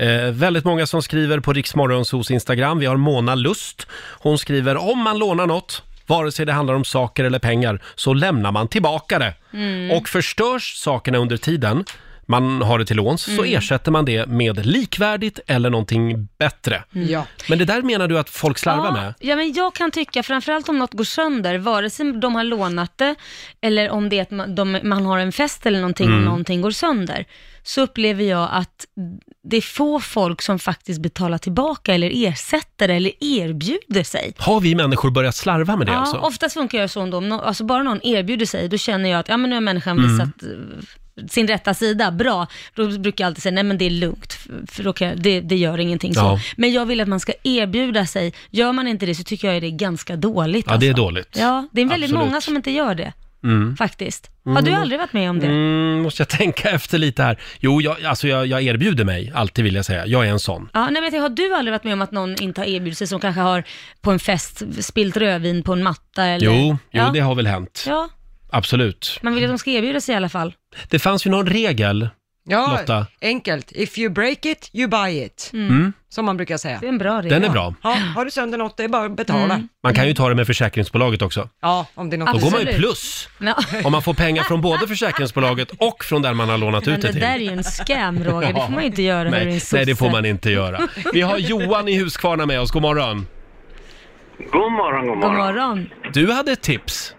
Speaker 1: Eh, väldigt många som skriver på Riksmorgonsos Instagram. Vi har Mona Lust. Hon skriver, om man lånar något, vare sig det handlar om saker eller pengar, så lämnar man tillbaka det.
Speaker 2: Mm.
Speaker 1: Och förstörs sakerna under tiden man har det till låns, så
Speaker 2: Mm.
Speaker 1: ersätter man det med likvärdigt eller någonting bättre.
Speaker 5: Ja.
Speaker 1: Men det där menar du att folk slarvar med?
Speaker 2: Mm. Ja, men jag kan tycka, framförallt om något går sönder, vare sig de har lånat det eller om det är att man, de, man har en fest eller någonting och någonting går sönder, så upplever jag att det är få folk som faktiskt betalar tillbaka eller ersätter eller erbjuder sig.
Speaker 1: Har vi människor börjat slarva med det
Speaker 2: Ja,
Speaker 1: alltså?
Speaker 2: oftast funkar jag så ändå, om nå- alltså bara någon erbjuder sig, då känner jag att ja, men nu har människan
Speaker 1: Mm.
Speaker 2: visat eh, sin rätta sida, bra. Då brukar jag alltid säga, nej men det är lugnt, för- för då kan jag, det, det gör ingenting. Så.
Speaker 1: Ja.
Speaker 2: Men jag vill att man ska erbjuda sig. Gör man inte det så tycker jag det är ganska dåligt.
Speaker 1: Ja, det är
Speaker 2: alltså.
Speaker 1: dåligt.
Speaker 2: Ja, det är väldigt
Speaker 1: Absolut.
Speaker 2: många som inte gör det, faktiskt. Har du aldrig varit med om det?
Speaker 1: Mm, måste jag tänka efter lite här. Jo, jag, alltså jag, jag erbjuder mig, alltid vill jag säga. Jag är en sån.
Speaker 2: Ja, nej, men jag tänker, har du aldrig varit med om att någon inte har erbjudit sig, som kanske har på en fest spillt rödvin på en matta? Eller?
Speaker 1: Jo, jo
Speaker 2: ja.
Speaker 1: det har väl hänt.
Speaker 2: Ja,
Speaker 1: Absolut.
Speaker 2: man vill att de ska erbjuda sig i alla fall.
Speaker 1: Det fanns ju någon regel.
Speaker 5: ja,
Speaker 1: Lotta. Mm.
Speaker 5: enkelt. If you break it, you buy it. Som man brukar säga.
Speaker 2: Mm. Det Mm. är en bra regel.
Speaker 1: Den är bra.
Speaker 5: Ja, har du sönder något, det är bara att betala.
Speaker 1: Man kan ju ta det med försäkringsbolaget också.
Speaker 5: Ja, om det är något
Speaker 1: Då
Speaker 5: du
Speaker 1: går man ju
Speaker 2: Absolut.
Speaker 1: plus
Speaker 2: Ja.
Speaker 1: om man får pengar från både försäkringsbolaget och från där man har lånat
Speaker 2: Men
Speaker 1: ut det
Speaker 2: det
Speaker 1: till.
Speaker 2: där är ju en scam Roger, det får man ju inte göra när du är en
Speaker 1: Nej,
Speaker 2: sosse.
Speaker 1: nej, det får man inte göra. Vi har Johan i Huskvarna med oss. God morgon.
Speaker 9: God morgon, god
Speaker 2: God
Speaker 9: morgon.
Speaker 2: morgon.
Speaker 1: Du hade ett tips.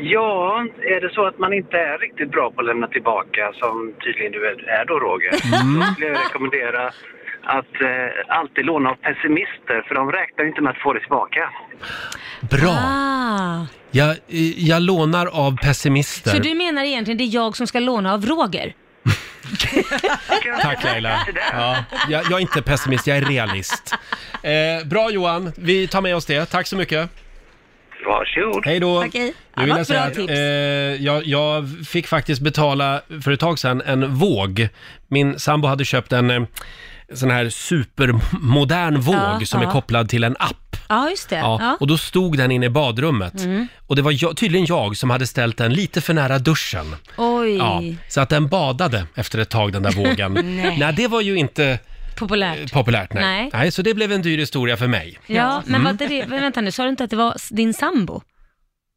Speaker 9: Ja, är det så att man inte är riktigt bra på att lämna tillbaka, som tydligen du är är då Roger, då skulle jag rekommendera att eh, alltid låna av pessimister, för de räknar inte med att få det tillbaka.
Speaker 1: Bra.
Speaker 2: Ah,
Speaker 1: Jag, jag lånar av
Speaker 2: så
Speaker 1: pessimister.
Speaker 2: du menar egentligen det är jag som ska låna av Roger?
Speaker 1: Tack Laila. Ja, jag, jag är inte pessimist, jag är realist. Eh, bra Johan, vi tar med oss det. Tack så mycket.
Speaker 9: Varsågod.
Speaker 1: Hej då!
Speaker 2: Tack, hej.
Speaker 1: Nu
Speaker 2: Ja,
Speaker 1: vill
Speaker 2: vad
Speaker 1: jag säga
Speaker 2: bra
Speaker 1: att
Speaker 2: tips.
Speaker 1: eh, jag, jag fick faktiskt betala för ett tag sedan en våg. Min sambo hade köpt en eh, sån här supermodern våg
Speaker 2: Ja,
Speaker 1: som är
Speaker 2: ja.
Speaker 1: kopplad till en app.
Speaker 2: Ja, just det.
Speaker 1: Ja,
Speaker 2: Ja. Mm.
Speaker 1: Och då stod den inne i badrummet. Och det var jag, tydligen jag som hade ställt den lite för nära duschen.
Speaker 2: Oj,
Speaker 1: Ja, så att den badade efter ett tag, den där vågen.
Speaker 2: Nej.
Speaker 1: nej, det var ju inte eh,
Speaker 2: populärt.
Speaker 1: populärt. Nej.
Speaker 2: Nej.
Speaker 1: Nej. så det blev en dyr historia för mig.
Speaker 2: Ja, men
Speaker 1: Mm.
Speaker 2: vad är det, men vänta nu, sa du inte att det var s- din sambo?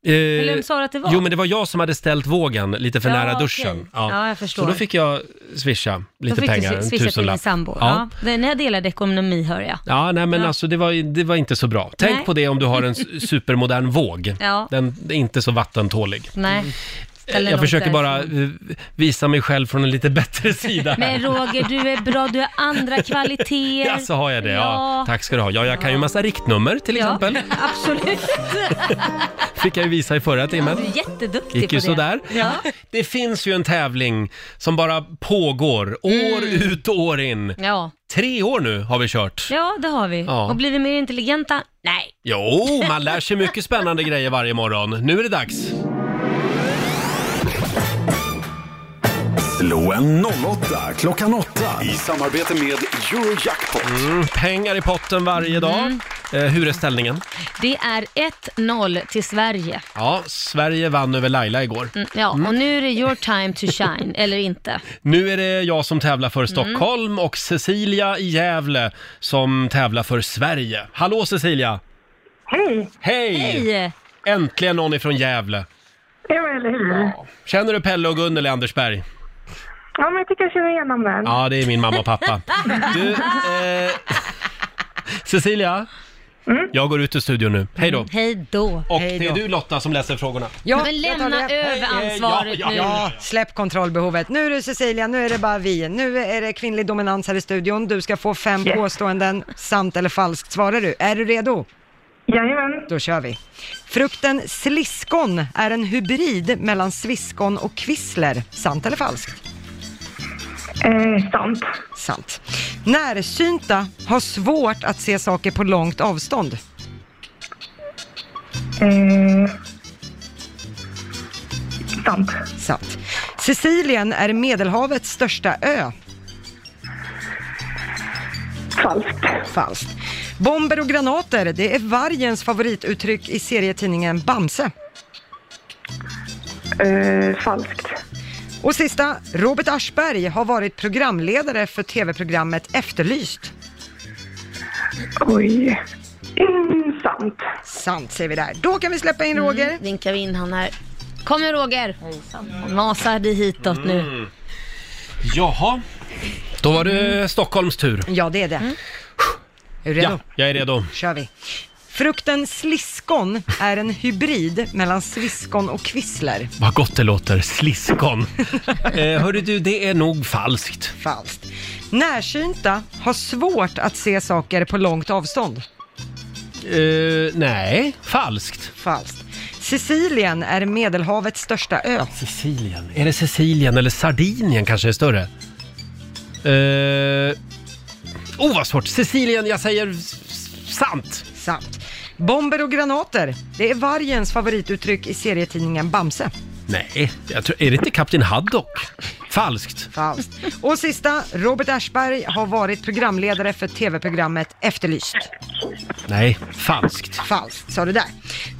Speaker 1: Eh,
Speaker 2: Eller vem sa du att det var?
Speaker 1: Jo, men det var jag som hade ställt vågen lite för
Speaker 2: Ja,
Speaker 1: nära
Speaker 2: okej.
Speaker 1: duschen.
Speaker 2: Ja, jag förstår.
Speaker 1: Så då fick jag swisha
Speaker 2: Då
Speaker 1: lite
Speaker 2: fick
Speaker 1: pengar,
Speaker 2: du
Speaker 1: en
Speaker 2: swisha till din
Speaker 1: tusenlapp.
Speaker 2: sambo. Ja.
Speaker 1: Ja.
Speaker 2: Ja. Ni delade ekonomi hör jag.
Speaker 1: Ja, nej men
Speaker 2: Ja.
Speaker 1: alltså det var, det var inte så bra. Tänk
Speaker 2: Nej.
Speaker 1: på det om du har en s- supermodern våg.
Speaker 2: Ja.
Speaker 1: Den är inte så vattentålig.
Speaker 2: Nej. Ställer
Speaker 1: Mm. jag
Speaker 2: långt
Speaker 1: försöker bara
Speaker 2: därifrån.
Speaker 1: eh, visa mig själv från en lite bättre sida här.
Speaker 2: Men Roger, du är bra, du har andra kvaliteter.
Speaker 1: Ja, så har jag det. Ja.
Speaker 2: Ja.
Speaker 1: Tack ska du ha. Ja, jag kan ju massa riktnummer till exempel.
Speaker 2: Ja, absolut.
Speaker 1: Fick jag ju visa i förra timmen.
Speaker 2: Du är jätteduktig
Speaker 1: Gick
Speaker 2: på
Speaker 1: ju
Speaker 2: det.
Speaker 1: sådär.
Speaker 2: Ja.
Speaker 1: Det finns ju en tävling som bara pågår år
Speaker 2: Mm.
Speaker 1: ut och år in.
Speaker 2: Ja.
Speaker 1: Tre år nu har vi kört.
Speaker 2: ja, det har vi.
Speaker 1: Ja.
Speaker 2: Och blir vi mer intelligenta? Nej.
Speaker 1: Jo, man lär sig mycket spännande grejer varje morgon. Nu är det dags.
Speaker 3: Slå en 08 klockan 8 i samarbete med Eurojackpot.
Speaker 1: Mm, pengar i potten varje
Speaker 2: Mm.
Speaker 1: dag. Eh, hur är ställningen?
Speaker 2: Det är 1-0 till Sverige.
Speaker 1: Ja, Sverige vann över Laila igår.
Speaker 2: Mm, Ja, och nu är det your time to shine, eller inte.
Speaker 1: Nu är det jag som tävlar
Speaker 2: Mm.
Speaker 1: för Stockholm och Cecilia i Gävle som tävlar för Sverige. Hallå Cecilia! Hej! Hej!
Speaker 2: Hej!
Speaker 1: Äntligen någon ifrån Gävle.
Speaker 8: Ja, eller hur?
Speaker 1: Känner du Pelle och Gunnel i Andersberg?
Speaker 8: Ja, men jag tycker jag känner igenom den.
Speaker 1: Ja, det är min mamma och pappa. Du, eh... Cecilia? Jag går ut ur studion nu. Hej då!
Speaker 2: Hej då.
Speaker 1: Och
Speaker 5: Mm? Hej
Speaker 1: det är
Speaker 5: då.
Speaker 1: du Lotta som läser frågorna.
Speaker 5: Ja,
Speaker 2: Men
Speaker 5: jag tar
Speaker 2: lämna
Speaker 5: det.
Speaker 2: över
Speaker 1: eh,
Speaker 2: ansvaret
Speaker 1: ja,
Speaker 2: nu.
Speaker 5: Ja, släpp kontrollbehovet. Nu är det Cecilia, nu är det bara vi. Nu är det kvinnlig dominans här i studion. Du ska få fem påståenden, sant eller falskt svarar du. Är du redo?
Speaker 8: Jajamän.
Speaker 5: Då kör vi. Frukten sliskon är en hybrid mellan sviskon och kvissler. Sant eller falskt?
Speaker 8: Eh, sant.
Speaker 5: Sant. Närsynta har svårt att se saker på långt avstånd.
Speaker 8: Eh, sant.
Speaker 5: Sant. Sicilien är Medelhavets största ö.
Speaker 8: Falskt.
Speaker 5: Falskt. Bomber och granater, det är vargens favorituttryck i serietidningen Bamse.
Speaker 8: Eh, falskt.
Speaker 5: Och sista, Robert Aschberg har varit programledare för tv-programmet Efterlyst.
Speaker 8: Oj. Mm, sant.
Speaker 5: Sant säger vi där. Då kan vi släppa in Roger.
Speaker 2: Vinkar vi in han här. Kom nu Roger! Han Masar dig hitåt
Speaker 1: Mm.
Speaker 2: nu.
Speaker 1: Jaha. Då var det Stockholms tur.
Speaker 5: Ja, det är det. Är du Mm. redo?
Speaker 1: Ja, jag är redo.
Speaker 5: kör vi. Frukten sliskon är en hybrid mellan sviskon och kvissler.
Speaker 1: Vad gott det låter, sliskon. eh, hörru du, det är nog falskt.
Speaker 5: Falskt. Närsynta har svårt att se saker på långt avstånd.
Speaker 1: Eh, nej, falskt.
Speaker 5: Falskt. Sicilien är Medelhavets största ö.
Speaker 1: Sicilien. Är det Sicilien eller Sardinien kanske är större? Eh, oh, vad svårt. Sicilien, jag säger s- s- sant.
Speaker 5: Sant. Bomber och granater, det är vargens favorituttryck i serietidningen Bamse.
Speaker 1: Nej, jag tror, är det inte Kapten Haddock? Falskt.
Speaker 5: Falskt. Och sista, Robert Aschberg har varit programledare för tv-programmet Efterlyst.
Speaker 1: Nej, falskt.
Speaker 5: Falskt, sa du där.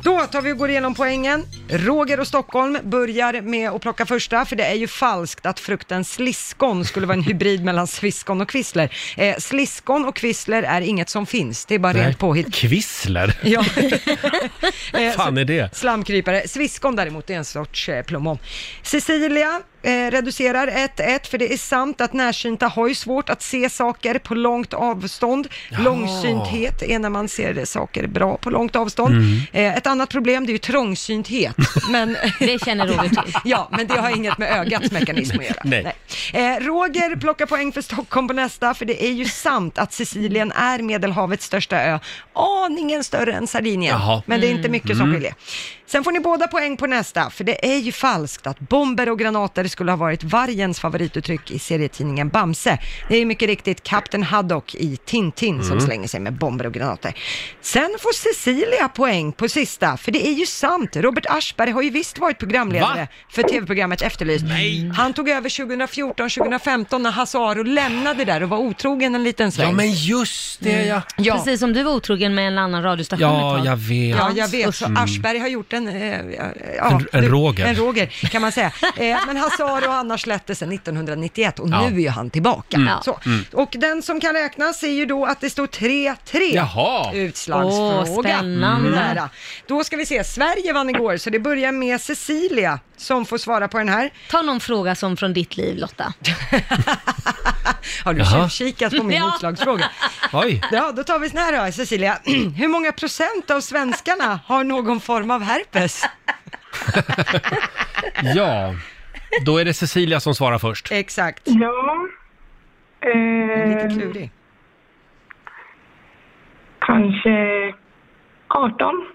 Speaker 5: Då tar vi och går igenom poängen. Roger och Stockholm börjar med att plocka första, för det är ju falskt att frukten sliskon skulle vara en hybrid mellan sviskon och kvissler. Eh, sliskon och kvissler är inget som finns, det är bara
Speaker 1: Nej.
Speaker 5: rent påhitt.
Speaker 1: Kvissler?
Speaker 5: Ja. Eh,
Speaker 1: fan är det?
Speaker 5: Slamkrypare. Sviskon däremot är en sorts eh, plommon. Cecilia eh, reducerar 1-1 för det är sant att närsynta har ju svårt att se saker på långt avstånd. Långsynthet är när man ser saker bra på långt avstånd. Eh, ett annat problem det är ju trångsynthet. Men
Speaker 2: Det känner Roger till.
Speaker 5: Ja, men det har inget med ögats mekanism att göra.
Speaker 1: Nej.
Speaker 5: Eh, Roger plockar poäng för Stockholm på nästa, för det är ju sant att Sicilien är Medelhavets största ö. Aningen större än Sardinien,
Speaker 1: Jaha. Mm.
Speaker 5: men det är inte mycket som skiljer. Sen får ni båda poäng på nästa, för det är ju falskt att bomber och granater skulle ha varit vargens favorituttryck i serietidningen Bamse. Det är ju mycket riktigt Kapten Haddock i Tintin som
Speaker 1: Mm.
Speaker 5: slänger sig med bomber och granater. Sen får Cecilia poäng på sista, för det är ju sant. Robert Aschberg har ju visst varit programledare
Speaker 1: Va?
Speaker 5: för tv-programmet Efterlyst. Han tog över 2014-2015 när Hasse Aro lämnade där och var otrogen en liten sväng.
Speaker 1: Ja, men just det ja.
Speaker 5: Ja.
Speaker 2: Precis som du var otrogen med en annan radiostation ett
Speaker 1: Ja,
Speaker 2: tag.
Speaker 1: jag vet.
Speaker 5: Ja, jag vet. Så Aschberg har gjort en... Eh, ja,
Speaker 1: En- en
Speaker 5: du-
Speaker 1: Roger.
Speaker 5: En Roger, kan man säga. Eh, men Hasse Aro och Anna släppte sedan 1991 och
Speaker 1: Ja.
Speaker 5: nu är ju han tillbaka.
Speaker 2: Mm.
Speaker 5: Så. Och den som kan räknas är ju då att det står 3-3.
Speaker 1: Jaha.
Speaker 5: Utslagsfråga.
Speaker 2: Åh, spännande.
Speaker 5: Nära. Då ska vi se, Sverige vann igår, så det börjar med Cecilia som får svara på den här.
Speaker 2: Ta någon fråga som från ditt liv Lotta.
Speaker 5: Har du
Speaker 1: Jaha.
Speaker 5: tjuvkikat på min
Speaker 2: Ja.
Speaker 5: utslagsfråga?
Speaker 1: Oj.
Speaker 5: Ja, då tar vi sån här då, Cecilia. Hur många procent av svenskarna har någon form av herpes?
Speaker 1: Ja. Då är det Cecilia som svarar först.
Speaker 5: Exakt.
Speaker 8: Ja.
Speaker 5: Lite
Speaker 8: Eh,
Speaker 5: klurig.
Speaker 8: kanske 18.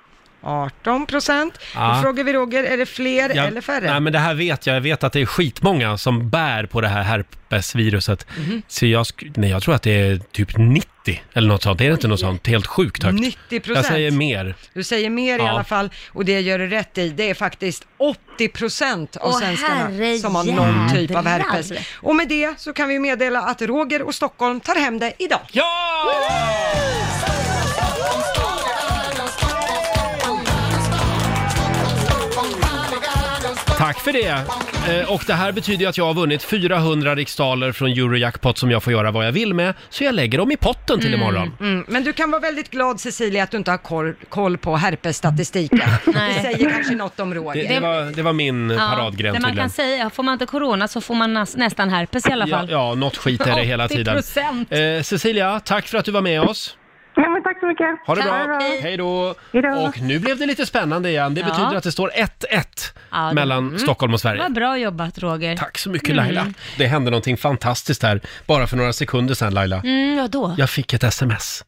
Speaker 5: 18 procent.
Speaker 1: Ja.
Speaker 5: Då frågar vi Roger, är det fler
Speaker 1: Jag-
Speaker 5: eller färre?
Speaker 1: Nej, men det här vet jag. Jag vet att det är skitmånga som bär på det här herpesviruset.
Speaker 5: Mhm.
Speaker 1: Så jag, sk- nej, jag tror att det är typ 90 eller något sånt. Det är inte något sånt helt sjukt högt.
Speaker 5: 90
Speaker 1: Jag
Speaker 5: procent.
Speaker 1: säger mer.
Speaker 5: Du säger mer i
Speaker 1: Ja.
Speaker 5: alla fall och det gör du rätt i. Det är faktiskt 80 procent av
Speaker 2: Åh,
Speaker 5: svenskarna
Speaker 2: herre
Speaker 5: som har någon typ av
Speaker 2: jävlar.
Speaker 5: herpes. Och med det så kan vi meddela att Roger och Stockholm tar hem det idag.
Speaker 1: Ja! Tack för det! Eh, Och det här betyder ju att jag har vunnit 400 riksdaler från Eurojackpot som jag får göra vad jag vill med, så jag lägger dem i potten till imorgon.
Speaker 5: Mm. Men du kan vara väldigt glad Cecilia att du inte har koll, koll på herpesstatistiken. det
Speaker 2: Nej.
Speaker 5: säger kanske något om Roger.
Speaker 1: Det, det, var, det var min paradgren
Speaker 2: där man
Speaker 1: tydligen.
Speaker 2: kan säga, får man inte corona så får man nas- nästan herpes i alla
Speaker 1: Ja,
Speaker 2: fall.
Speaker 1: ja, något skit är det hela tiden.
Speaker 2: 80%.
Speaker 1: Eh, Cecilia, tack för att du var med oss.
Speaker 8: Ja, men tack så mycket.
Speaker 1: Ha det bra.
Speaker 2: Tack.
Speaker 1: Hej då.
Speaker 8: Hej då.
Speaker 1: Och nu blev det lite spännande igen. Det
Speaker 2: Ja.
Speaker 1: betyder att det står 1-1
Speaker 2: Ja, det- mm.
Speaker 1: mellan Stockholm och Sverige.
Speaker 2: Vad bra jobbat Roger.
Speaker 1: Tack så
Speaker 2: Mm.
Speaker 1: mycket Laila. Det hände någonting fantastiskt här, bara för några sekunder sedan Laila.
Speaker 2: Mm, ja då.
Speaker 1: Jag fick ett sms.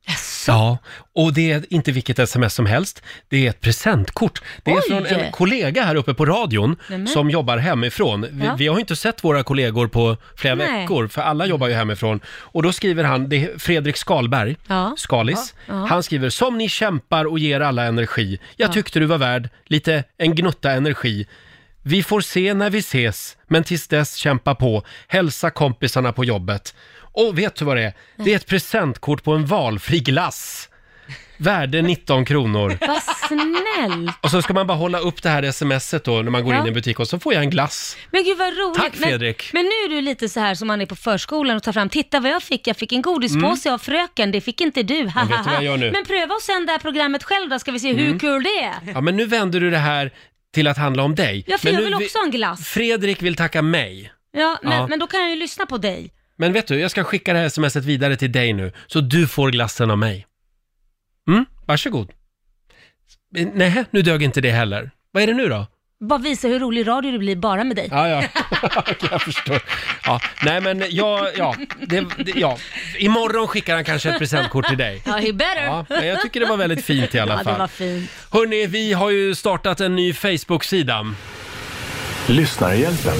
Speaker 1: Ja, och det är inte vilket sms som helst. Det är ett presentkort. Det är
Speaker 2: Oj!
Speaker 1: från en kollega här uppe på radion
Speaker 2: Nämen.
Speaker 1: som jobbar hemifrån. Vi,
Speaker 2: Ja.
Speaker 1: vi har ju inte sett våra kollegor på flera
Speaker 2: Nej.
Speaker 1: veckor, för alla jobbar ju
Speaker 2: Mm.
Speaker 1: hemifrån. Och då skriver han, det är Fredrik Skalberg,
Speaker 2: Ja.
Speaker 1: Skalis. Han skriver, som ni kämpar och ger alla energi. Jag tyckte du var värd lite en gnutta energi. Vi får se när vi ses, men tills dess kämpa på. Hälsa kompisarna på jobbet. Och vet du vad det är? Det är ett presentkort på en valfri glass. Värde 19 kronor.
Speaker 2: Vad snällt.
Speaker 1: Och så ska man bara hålla upp det här smset då när man går
Speaker 2: Ja.
Speaker 1: in i en butik och så får jag en glass.
Speaker 2: Men gud vad roligt.
Speaker 1: Tack, Fredrik.
Speaker 2: Men, men nu är du lite så här som man är på förskolan och tar fram, titta vad jag fick, jag fick en godispåse av fröken, det fick inte du,
Speaker 1: Mm. du vad jag gör nu? Mm.
Speaker 2: Men pröva och sen det här programmet själv då, ska vi se hur kul det är.
Speaker 1: Ja, men nu vänder du det här till att handla om dig.
Speaker 2: Ja, för
Speaker 1: men
Speaker 2: jag
Speaker 1: nu
Speaker 2: vill
Speaker 1: vi-
Speaker 2: också ha en glass.
Speaker 1: Fredrik vill tacka mig.
Speaker 2: Ja, men,
Speaker 1: Ja.
Speaker 2: men då kan jag ju lyssna på dig.
Speaker 1: Men vet du, jag ska skicka det här smset vidare till dig nu, så du får glassen av mig. Mm, varsågod. Eh, Nej, nu dög inte det heller. Vad är det nu då?
Speaker 2: Bara visa hur rolig radio det blir bara med dig.
Speaker 1: Ja, ja. Okej, jag förstår. Ja, nej, men ja, ja, det, det, ja. Imorgon skickar han kanske ett presentkort till dig.
Speaker 2: Ja, he better.
Speaker 1: Ja, men jag tycker det var väldigt fint i alla
Speaker 2: Ja,
Speaker 1: fall.
Speaker 2: det var fint.
Speaker 1: Hörni, vi har ju startat en ny Facebook-sida.
Speaker 3: Lyssnarhjälpen.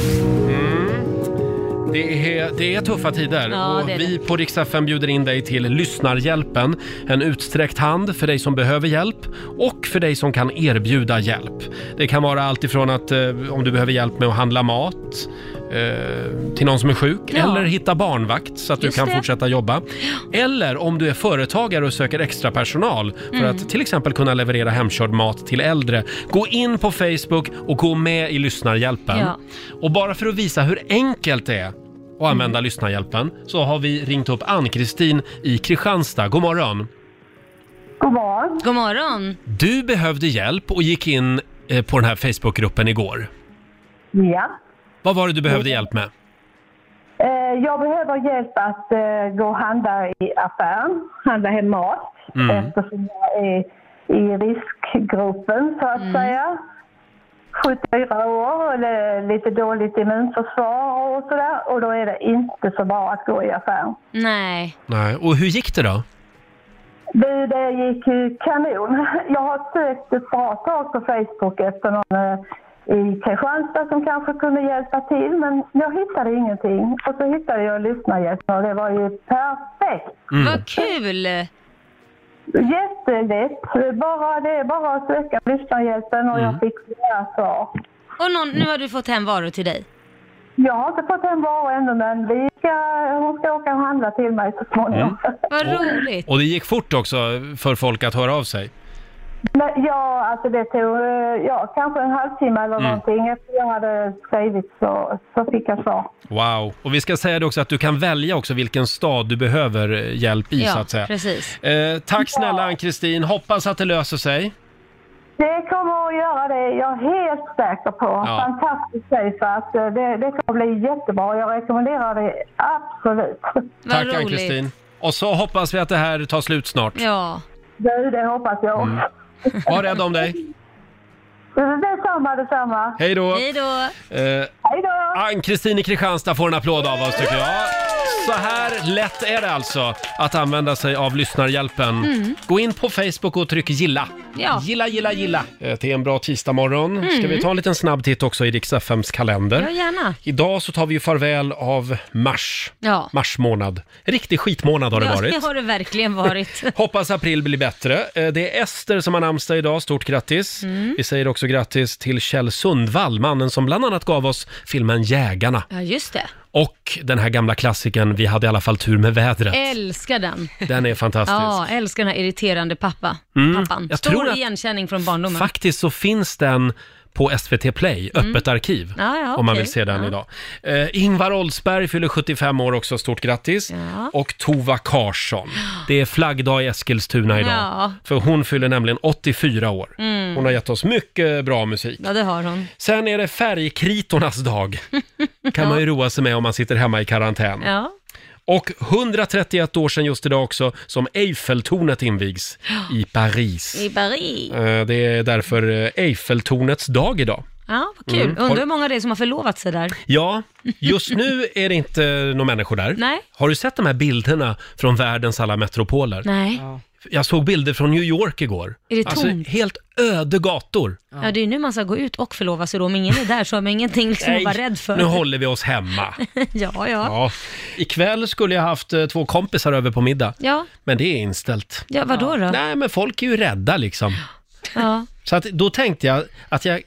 Speaker 1: Det är, det är tuffa tider
Speaker 2: Ja,
Speaker 1: och
Speaker 2: det är
Speaker 1: vi på Rix FM bjuder in dig till Lyssnarhjälpen. En utsträckt hand för dig som behöver hjälp och för dig som kan erbjuda hjälp. Det kan vara allt ifrån att eh, om du behöver hjälp med att handla mat eh, till någon som är sjuk
Speaker 2: Ja.
Speaker 1: eller hitta barnvakt så att
Speaker 2: Just
Speaker 1: du kan
Speaker 2: det.
Speaker 1: fortsätta jobba. Eller om du är företagare och söker extra personal för att till exempel kunna leverera hemkörd mat till äldre. Gå in på Facebook och gå med i Lyssnarhjälpen.
Speaker 2: Ja.
Speaker 1: Och bara för att visa hur enkelt det är att använda lyssnarhjälpen så har vi ringt upp Ann-Kristin i Kristianstad. God morgon!
Speaker 8: God morgon.
Speaker 2: God morgon.
Speaker 1: Du behövde hjälp och gick in eh, på den här Facebookgruppen igår.
Speaker 8: Ja.
Speaker 1: Vad var det du behövde hjälp med?
Speaker 8: Eh, Jag behöver hjälp att eh, gå och handla i affären, handla hem mat eftersom jag är i riskgruppen så att säga. 74 år eller lite dåligt immunförsvar och sådär och då är det inte så bra att gå i affären.
Speaker 2: Nej.
Speaker 1: Nej. Och hur gick det då?
Speaker 8: Du, det gick ju kanon. Jag har sökt ett bra tag på Facebook efter någon eh, i Kristianstad som kanske kunde hjälpa till, men jag hittade ingenting. Och så hittade jag lyssnargästerna och det var ju perfekt.
Speaker 1: Mm.
Speaker 2: Vad kul!
Speaker 8: Jättelätt. Bara, det är bara att söka lyssnarhjälpen och jag fick flera svar.
Speaker 2: Och någon, nu har du fått hem varor till dig.
Speaker 8: Jag har inte fått hem varor ännu, men vi ska, hon ska åka och handla till mig så småningom.
Speaker 2: Vad roligt!
Speaker 1: Och det gick fort också för folk att höra av sig.
Speaker 8: Men ja, alltså det tog eh, ja, kanske en halvtimme eller någonting. Efter jag hade skrivit så, så fick jag svar.
Speaker 1: Wow! Och vi ska säga det också att du kan välja också vilken stad du behöver eh, hjälp i så
Speaker 2: Ja,
Speaker 1: att säga.
Speaker 2: precis.
Speaker 1: Eh, tack snälla Ann-Kristin, hoppas att det löser sig.
Speaker 8: Det kommer att göra det, jag är helt säker på.
Speaker 1: Ja.
Speaker 8: Fantastiskt säg, för att eh, det, det kommer bli jättebra. Jag rekommenderar det absolut.
Speaker 2: Vad
Speaker 1: tack
Speaker 2: roligt.
Speaker 1: Ann-Kristin. Och så hoppas vi att det här tar slut snart.
Speaker 2: Ja.
Speaker 8: Du, det hoppas jag. Mm.
Speaker 1: Var rädd om dig.
Speaker 8: Detsamma, detsamma.
Speaker 1: Hej då!
Speaker 2: Hej då!
Speaker 1: Eh,
Speaker 8: Hej då!
Speaker 1: Ann-Kristin i Kristianstad får en applåd av oss tycker jag. Så här lätt är det alltså att använda sig av lyssnarhjälpen. Gå in på Facebook och tryck gilla.
Speaker 2: Mm. Ja. Mm.
Speaker 1: Gilla, gilla, gilla. Eh, Det är en bra tisdagmorgon. Ska vi ta en liten snabb titt också i Rix FMs kalender?
Speaker 2: Ja, gärna.
Speaker 1: Idag så tar vi ju farväl av mars.
Speaker 2: Ja.
Speaker 1: Mars månad. Riktig skitmånad har det
Speaker 2: Ja,
Speaker 1: varit.
Speaker 2: det har det verkligen varit.
Speaker 1: Hoppas april blir bättre. Eh, Det är Ester som har namnsdag idag, stort grattis.
Speaker 2: Mm.
Speaker 1: Vi säger också grattis till Kjell Sundvall, mannen som bland annat gav oss filmen Jägarna.
Speaker 2: Ja, just det.
Speaker 1: Och den här gamla klassikern Vi hade i alla fall tur med vädret.
Speaker 2: Älskar den.
Speaker 1: Den är fantastisk.
Speaker 2: Eh. Ja, älskar den här irriterande pappa. pappan.
Speaker 1: Mm. Jag
Speaker 2: Stor
Speaker 1: tror att-
Speaker 2: igenkänning från barndomen.
Speaker 1: Faktiskt så finns den på SVT Play, öppet arkiv,
Speaker 2: Mm. Ja, ja,
Speaker 1: om man
Speaker 2: okej.
Speaker 1: vill se den
Speaker 2: Ja.
Speaker 1: idag. Eh, Ingvar Oldsberg fyller 75 år också, stort grattis.
Speaker 2: Ja.
Speaker 1: Och Tova Karsson. Det är flaggdag i Eskilstuna idag.
Speaker 2: Ja. Mm.
Speaker 1: För hon fyller nämligen 84 år. Hon har gett oss mycket bra musik.
Speaker 2: Ja, det har hon.
Speaker 1: Sen är det färgkritornas dag. kan man ju roa sig med om man sitter hemma i karantän.
Speaker 2: Ja.
Speaker 1: Och 131 år sedan just idag också som Eiffeltornet invigs i Paris.
Speaker 2: I Paris.
Speaker 1: Eh, Det är därför eh, Eiffeltornets dag idag.
Speaker 2: Ja, vad
Speaker 1: Mm.
Speaker 2: kul. Undrar hur många det är som har förlovat sig där.
Speaker 1: Ja, just nu är det inte några människor där.
Speaker 2: Nej.
Speaker 1: Har du sett de här bilderna från världens alla metropoler?
Speaker 2: Nej.
Speaker 1: Jag såg bilder från New York igår.
Speaker 2: Är det
Speaker 1: alltså,
Speaker 2: tomt?
Speaker 1: helt öde gator.
Speaker 2: Ja, det är ju nu man ska gå ut och förlova sig då. Om ingen är där så har man ingenting liksom att vara rädd för.
Speaker 1: nu håller vi oss hemma.
Speaker 2: Ja, ja.
Speaker 1: Ja. Ikväll skulle jag haft eh, två kompisar över på middag,
Speaker 2: Ja,
Speaker 1: men det är inställt.
Speaker 2: ja vadå då?
Speaker 1: Nej, men folk är ju rädda liksom.
Speaker 2: Ja.
Speaker 1: Så att, då tänkte jag att jag,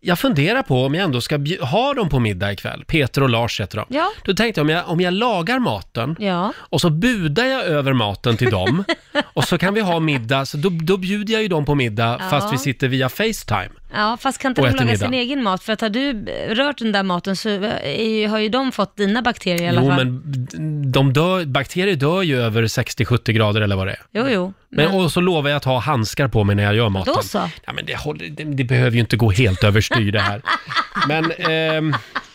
Speaker 1: jag funderar på om jag ändå ska bju- ha dem på middag ikväll, Peter och Lars heter de.
Speaker 2: Ja.
Speaker 1: Då tänkte jag om, jag om jag lagar maten
Speaker 2: Ja.
Speaker 1: och så budar jag över maten till dem och så kan vi ha middag, så då, då bjuder jag ju dem på middag
Speaker 2: Ja.
Speaker 1: fast vi sitter via Facetime.
Speaker 2: ja, fast kan inte
Speaker 1: Och
Speaker 2: de
Speaker 1: äter
Speaker 2: laga
Speaker 1: middag.
Speaker 2: sin egen mat? För att har du eh, rört den där maten så eh, är, ju- har ju de fått dina bakterier i alla
Speaker 1: Jo,
Speaker 2: fall.
Speaker 1: men d- de dör, bakterier dör ju över 60-70 grader eller vad det är.
Speaker 2: Jo, jo.
Speaker 1: Men, Och så lovar jag att ha handskar på mig när jag gör maten.
Speaker 2: Då så.
Speaker 1: Ja, men det, håller, det, det behöver ju inte gå helt överstyr det här. Men ehm,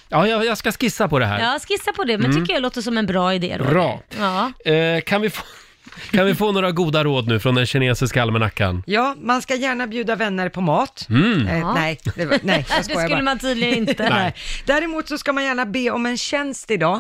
Speaker 1: ja, jag, jag ska skissa på det här.
Speaker 2: Ja, skissa på det, men tycker jag låter som en bra idé då.
Speaker 1: Mm. Bra.
Speaker 2: Ja.
Speaker 1: Eh, kan, vi få, kan vi få några goda råd nu från den kinesiska almanackan?
Speaker 5: Ja, man ska gärna bjuda vänner på mat.
Speaker 1: Mm.
Speaker 5: Eh, Nej, det var, nej, jag
Speaker 2: Det
Speaker 5: skojar
Speaker 2: skulle
Speaker 5: bara.
Speaker 2: man tydligen inte.
Speaker 5: Nej. Däremot så ska man gärna be om en tjänst idag.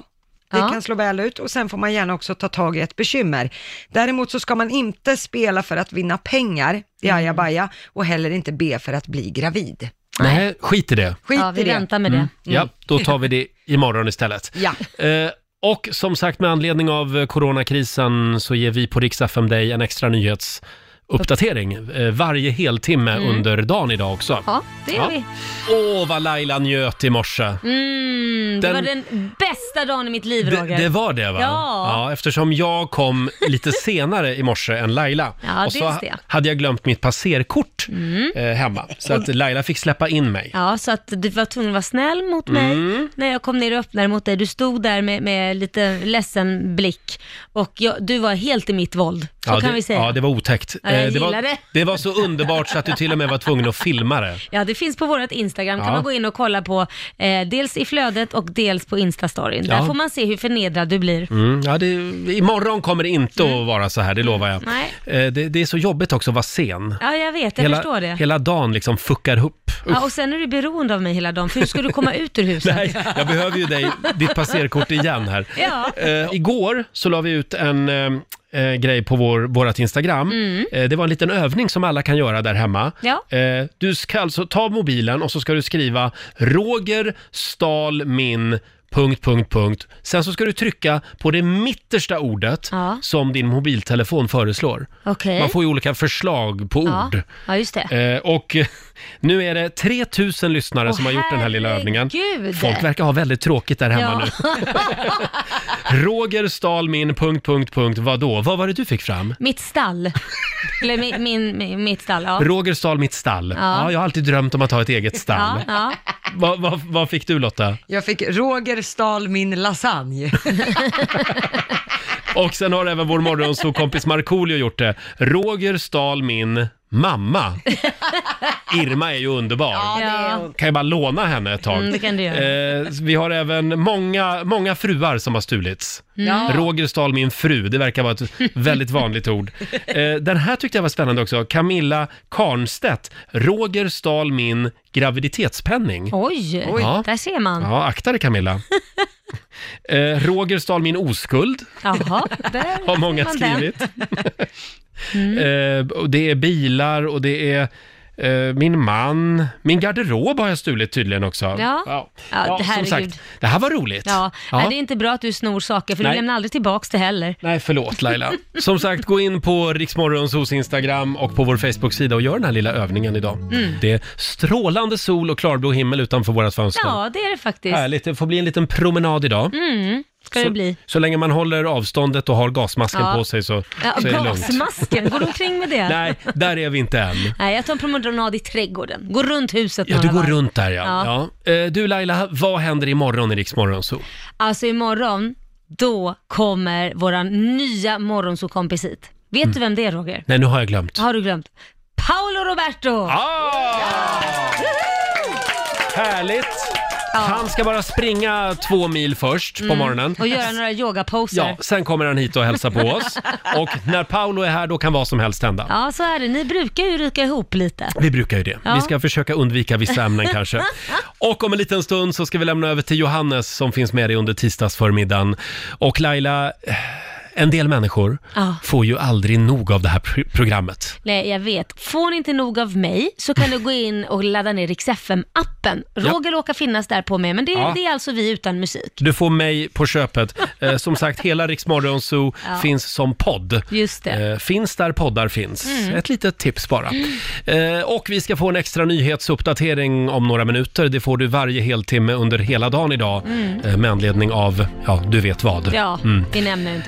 Speaker 5: Det
Speaker 2: Ja.
Speaker 5: kan slå väl ut och sen får man gärna också ta tag i ett bekymmer. Däremot så ska man inte spela för att vinna pengar,
Speaker 2: Mm.
Speaker 5: jajabaja, och heller inte be för att bli gravid.
Speaker 1: Nej. skit i det. Mm.
Speaker 5: Skit
Speaker 2: Ja,
Speaker 5: i
Speaker 2: vi
Speaker 5: det.
Speaker 2: väntar med det.
Speaker 1: Ja, då tar vi det imorgon istället.
Speaker 5: Ja.
Speaker 1: Eh, och som sagt, med anledning av eh, coronakrisen så ger vi på Rix FM dig en extra nyhetsuppdatering eh, varje heltimme under dagen idag också.
Speaker 2: Mm. Ja, det gör
Speaker 1: Ja.
Speaker 2: vi.
Speaker 1: Åh, vad Laila njöt i morse.
Speaker 2: Mm,
Speaker 1: Den-
Speaker 2: Det var den bästa dagen i mitt liv, Roger.
Speaker 1: Det, det var det va?
Speaker 2: Ja.
Speaker 1: Eftersom jag kom lite senare i morse än Laila.
Speaker 2: Ja,
Speaker 1: och så
Speaker 2: dels det. Mm.
Speaker 1: hade jag glömt mitt passerkort eh, hemma. Så att Laila fick släppa in mig.
Speaker 2: Ja, så att du var tvungen att vara snäll mot mig
Speaker 1: Mm.
Speaker 2: när jag kom ner och öppnade mot dig. Du stod där med, med lite ledsen blick och jag, du var helt i mitt våld. Så
Speaker 1: ja,
Speaker 2: kan
Speaker 1: det,
Speaker 2: vi säga.
Speaker 1: Ja,
Speaker 2: Ja,
Speaker 1: det var otäckt.
Speaker 2: Ja, jag
Speaker 1: Eh, det, var,
Speaker 2: gillar det.
Speaker 1: det var så underbart så att du till och med var tvungen att filma det.
Speaker 2: det finns på vårt Instagram,
Speaker 1: Ja.
Speaker 2: kan man gå in och kolla på eh, dels i flödet och dels på Instastoryn.
Speaker 1: Ja.
Speaker 2: Där får man se hur förnedrad du blir.
Speaker 1: Mm, ja, det, imorgon kommer det inte att vara så här, det lovar jag.
Speaker 2: Mm. Nej.
Speaker 1: Eh, det, det är så jobbigt också att vara sen.
Speaker 2: Ja, jag vet, jag
Speaker 1: hela,
Speaker 2: förstår det.
Speaker 1: hela dagen liksom fuckar upp.
Speaker 2: Ja, och sen är du beroende av mig hela dagen, för hur ska du komma ut ur huset?
Speaker 1: Nej, jag behöver ju dig, ditt passerkort igen här.
Speaker 2: Ja.
Speaker 1: Eh, igår så la vi ut en eh, eh, grej på vår, vårat Instagram. Eh, det var en liten övning som alla kan göra där hemma.
Speaker 2: Mm. Ja.
Speaker 1: Eh, du ska alltså ta mobilen och så ska du skriva Roger stal min Punkt, punkt, punkt. Sen så ska du trycka på det mittersta ordet
Speaker 2: Ja.
Speaker 1: som din mobiltelefon föreslår.
Speaker 2: Okej.
Speaker 1: Man får ju olika förslag på
Speaker 2: Ja.
Speaker 1: ord.
Speaker 2: ja, just det.
Speaker 1: Eh, och nu är det 3000 lyssnare
Speaker 2: Åh,
Speaker 1: som har gjort den här lilla övningen.
Speaker 2: herregud.
Speaker 1: Folk verkar ha väldigt tråkigt där hemma nu. Roger stal min... Punkt, punkt, punkt. Vadå? Vad var det du fick fram?
Speaker 2: Mitt stall. Eller min, min, min, mitt stall, ja.
Speaker 1: Roger stal mitt stall. Ja.
Speaker 2: Ja.
Speaker 1: jag har alltid drömt om att ha ett eget stall.
Speaker 2: Ja, ja.
Speaker 1: Vad vad- vad fick du Lotta?
Speaker 5: Jag fick Roger stal min lasagne.
Speaker 1: Och sen har även vår morgonsåkompis Markoolio gjort det. Roger stal min mamma. Irma är ju underbar.
Speaker 2: ja.
Speaker 1: Kan jag bara låna henne ett tag?
Speaker 2: Mm, det kan du göra.
Speaker 1: Eh, vi har även många, många fruar som har stulits. Roger stal min fru, det verkar vara ett väldigt vanligt ord. Eh, den här tyckte jag var spännande också. Camilla Karnstedt. Roger stal min graviditetspenning.
Speaker 2: Oj,
Speaker 1: Ja.
Speaker 2: där ser man.
Speaker 1: Ja, akta dig Camilla. Eh, Roger stal min oskuld,
Speaker 2: Jaha, där
Speaker 1: har många
Speaker 2: ser man den. Mm.
Speaker 1: skrivit. eh, och det är bilar och det är eh, min man. Min garderob har jag stulit tydligen också.
Speaker 2: Ja. Ja,
Speaker 1: Ja,
Speaker 2: det-
Speaker 1: som
Speaker 2: herregud.
Speaker 1: sagt, det här var roligt.
Speaker 2: Ja,
Speaker 1: Ja.
Speaker 2: Nej, det är inte bra att du snor saker för
Speaker 1: Nej.
Speaker 2: du lämnar aldrig tillbaks det heller.
Speaker 1: Nej, förlåt Laila. Som sagt, gå in på Riksmorgonsos Instagram och på vår Facebook-sida och gör den här lilla övningen idag.
Speaker 2: Mm.
Speaker 1: Det är strålande sol och klarblå himmel utanför vårat fönster.
Speaker 2: Ja, Mm. det är det faktiskt.
Speaker 1: Härligt, det får bli en liten promenad idag.
Speaker 2: Ska det bli.
Speaker 1: Så länge man håller avståndet och har gasmasken
Speaker 2: Ja.
Speaker 1: på sig så,
Speaker 2: Ja,
Speaker 1: så är det lugnt.
Speaker 2: gasmasken, går du omkring med det?
Speaker 1: Nej, där är vi inte än.
Speaker 2: Nej, jag tar en promenad i trädgården. Går runt huset
Speaker 1: Ja,
Speaker 2: några
Speaker 1: du går
Speaker 2: varv.
Speaker 1: runt där ja. ja.
Speaker 2: Ja.
Speaker 1: Eh, Du Laila, vad händer imorgon i Riksmorgonso?
Speaker 2: Alltså imorgon, då kommer våran nya morgonsåkompis hit. Vet
Speaker 1: Mm.
Speaker 2: du vem det är Roger?
Speaker 1: Nej, nu har jag glömt.
Speaker 2: Har du glömt? Paolo Roberto!
Speaker 1: Ah! Härligt! Han ska bara springa två mil först på morgonen.
Speaker 2: Mm. Och göra några yogaposer.
Speaker 1: Ja,
Speaker 2: Ja.
Speaker 1: sen kommer han hit och hälsar på oss. Och när Paolo är här, då kan vad som helst hända.
Speaker 2: ja, så är det. Ni brukar ju ryka ihop lite.
Speaker 1: Vi brukar ju det.
Speaker 2: Ja.
Speaker 1: Vi ska försöka undvika vissa ämnen kanske. Och om en liten stund så ska vi lämna över till Johannes som finns med dig under tisdagsförmiddagen. Och Laila, eh, en del människor
Speaker 2: Ja.
Speaker 1: får ju aldrig nog av det här pr- programmet.
Speaker 2: Nej, jag vet. Får ni inte nog av mig så kan du gå in och ladda ner Rix FM-appen. Roger råkar finnas där på mig, men det,
Speaker 1: Ja.
Speaker 2: det är alltså vi utan musik.
Speaker 1: Du får mig på köpet. Eh, som sagt, hela Riksmorgon Zoo
Speaker 2: Ja.
Speaker 1: finns som podd.
Speaker 2: Just det. Mm.
Speaker 1: Eh, finns där poddar finns. Ett litet tips bara. Eh, och vi ska få en extra nyhetsuppdatering om några minuter. Det får du varje
Speaker 2: Mm.
Speaker 1: heltimme under hela dagen idag eh, med anledning av, ja, du vet vad.
Speaker 2: Ja, vi nämner inte det.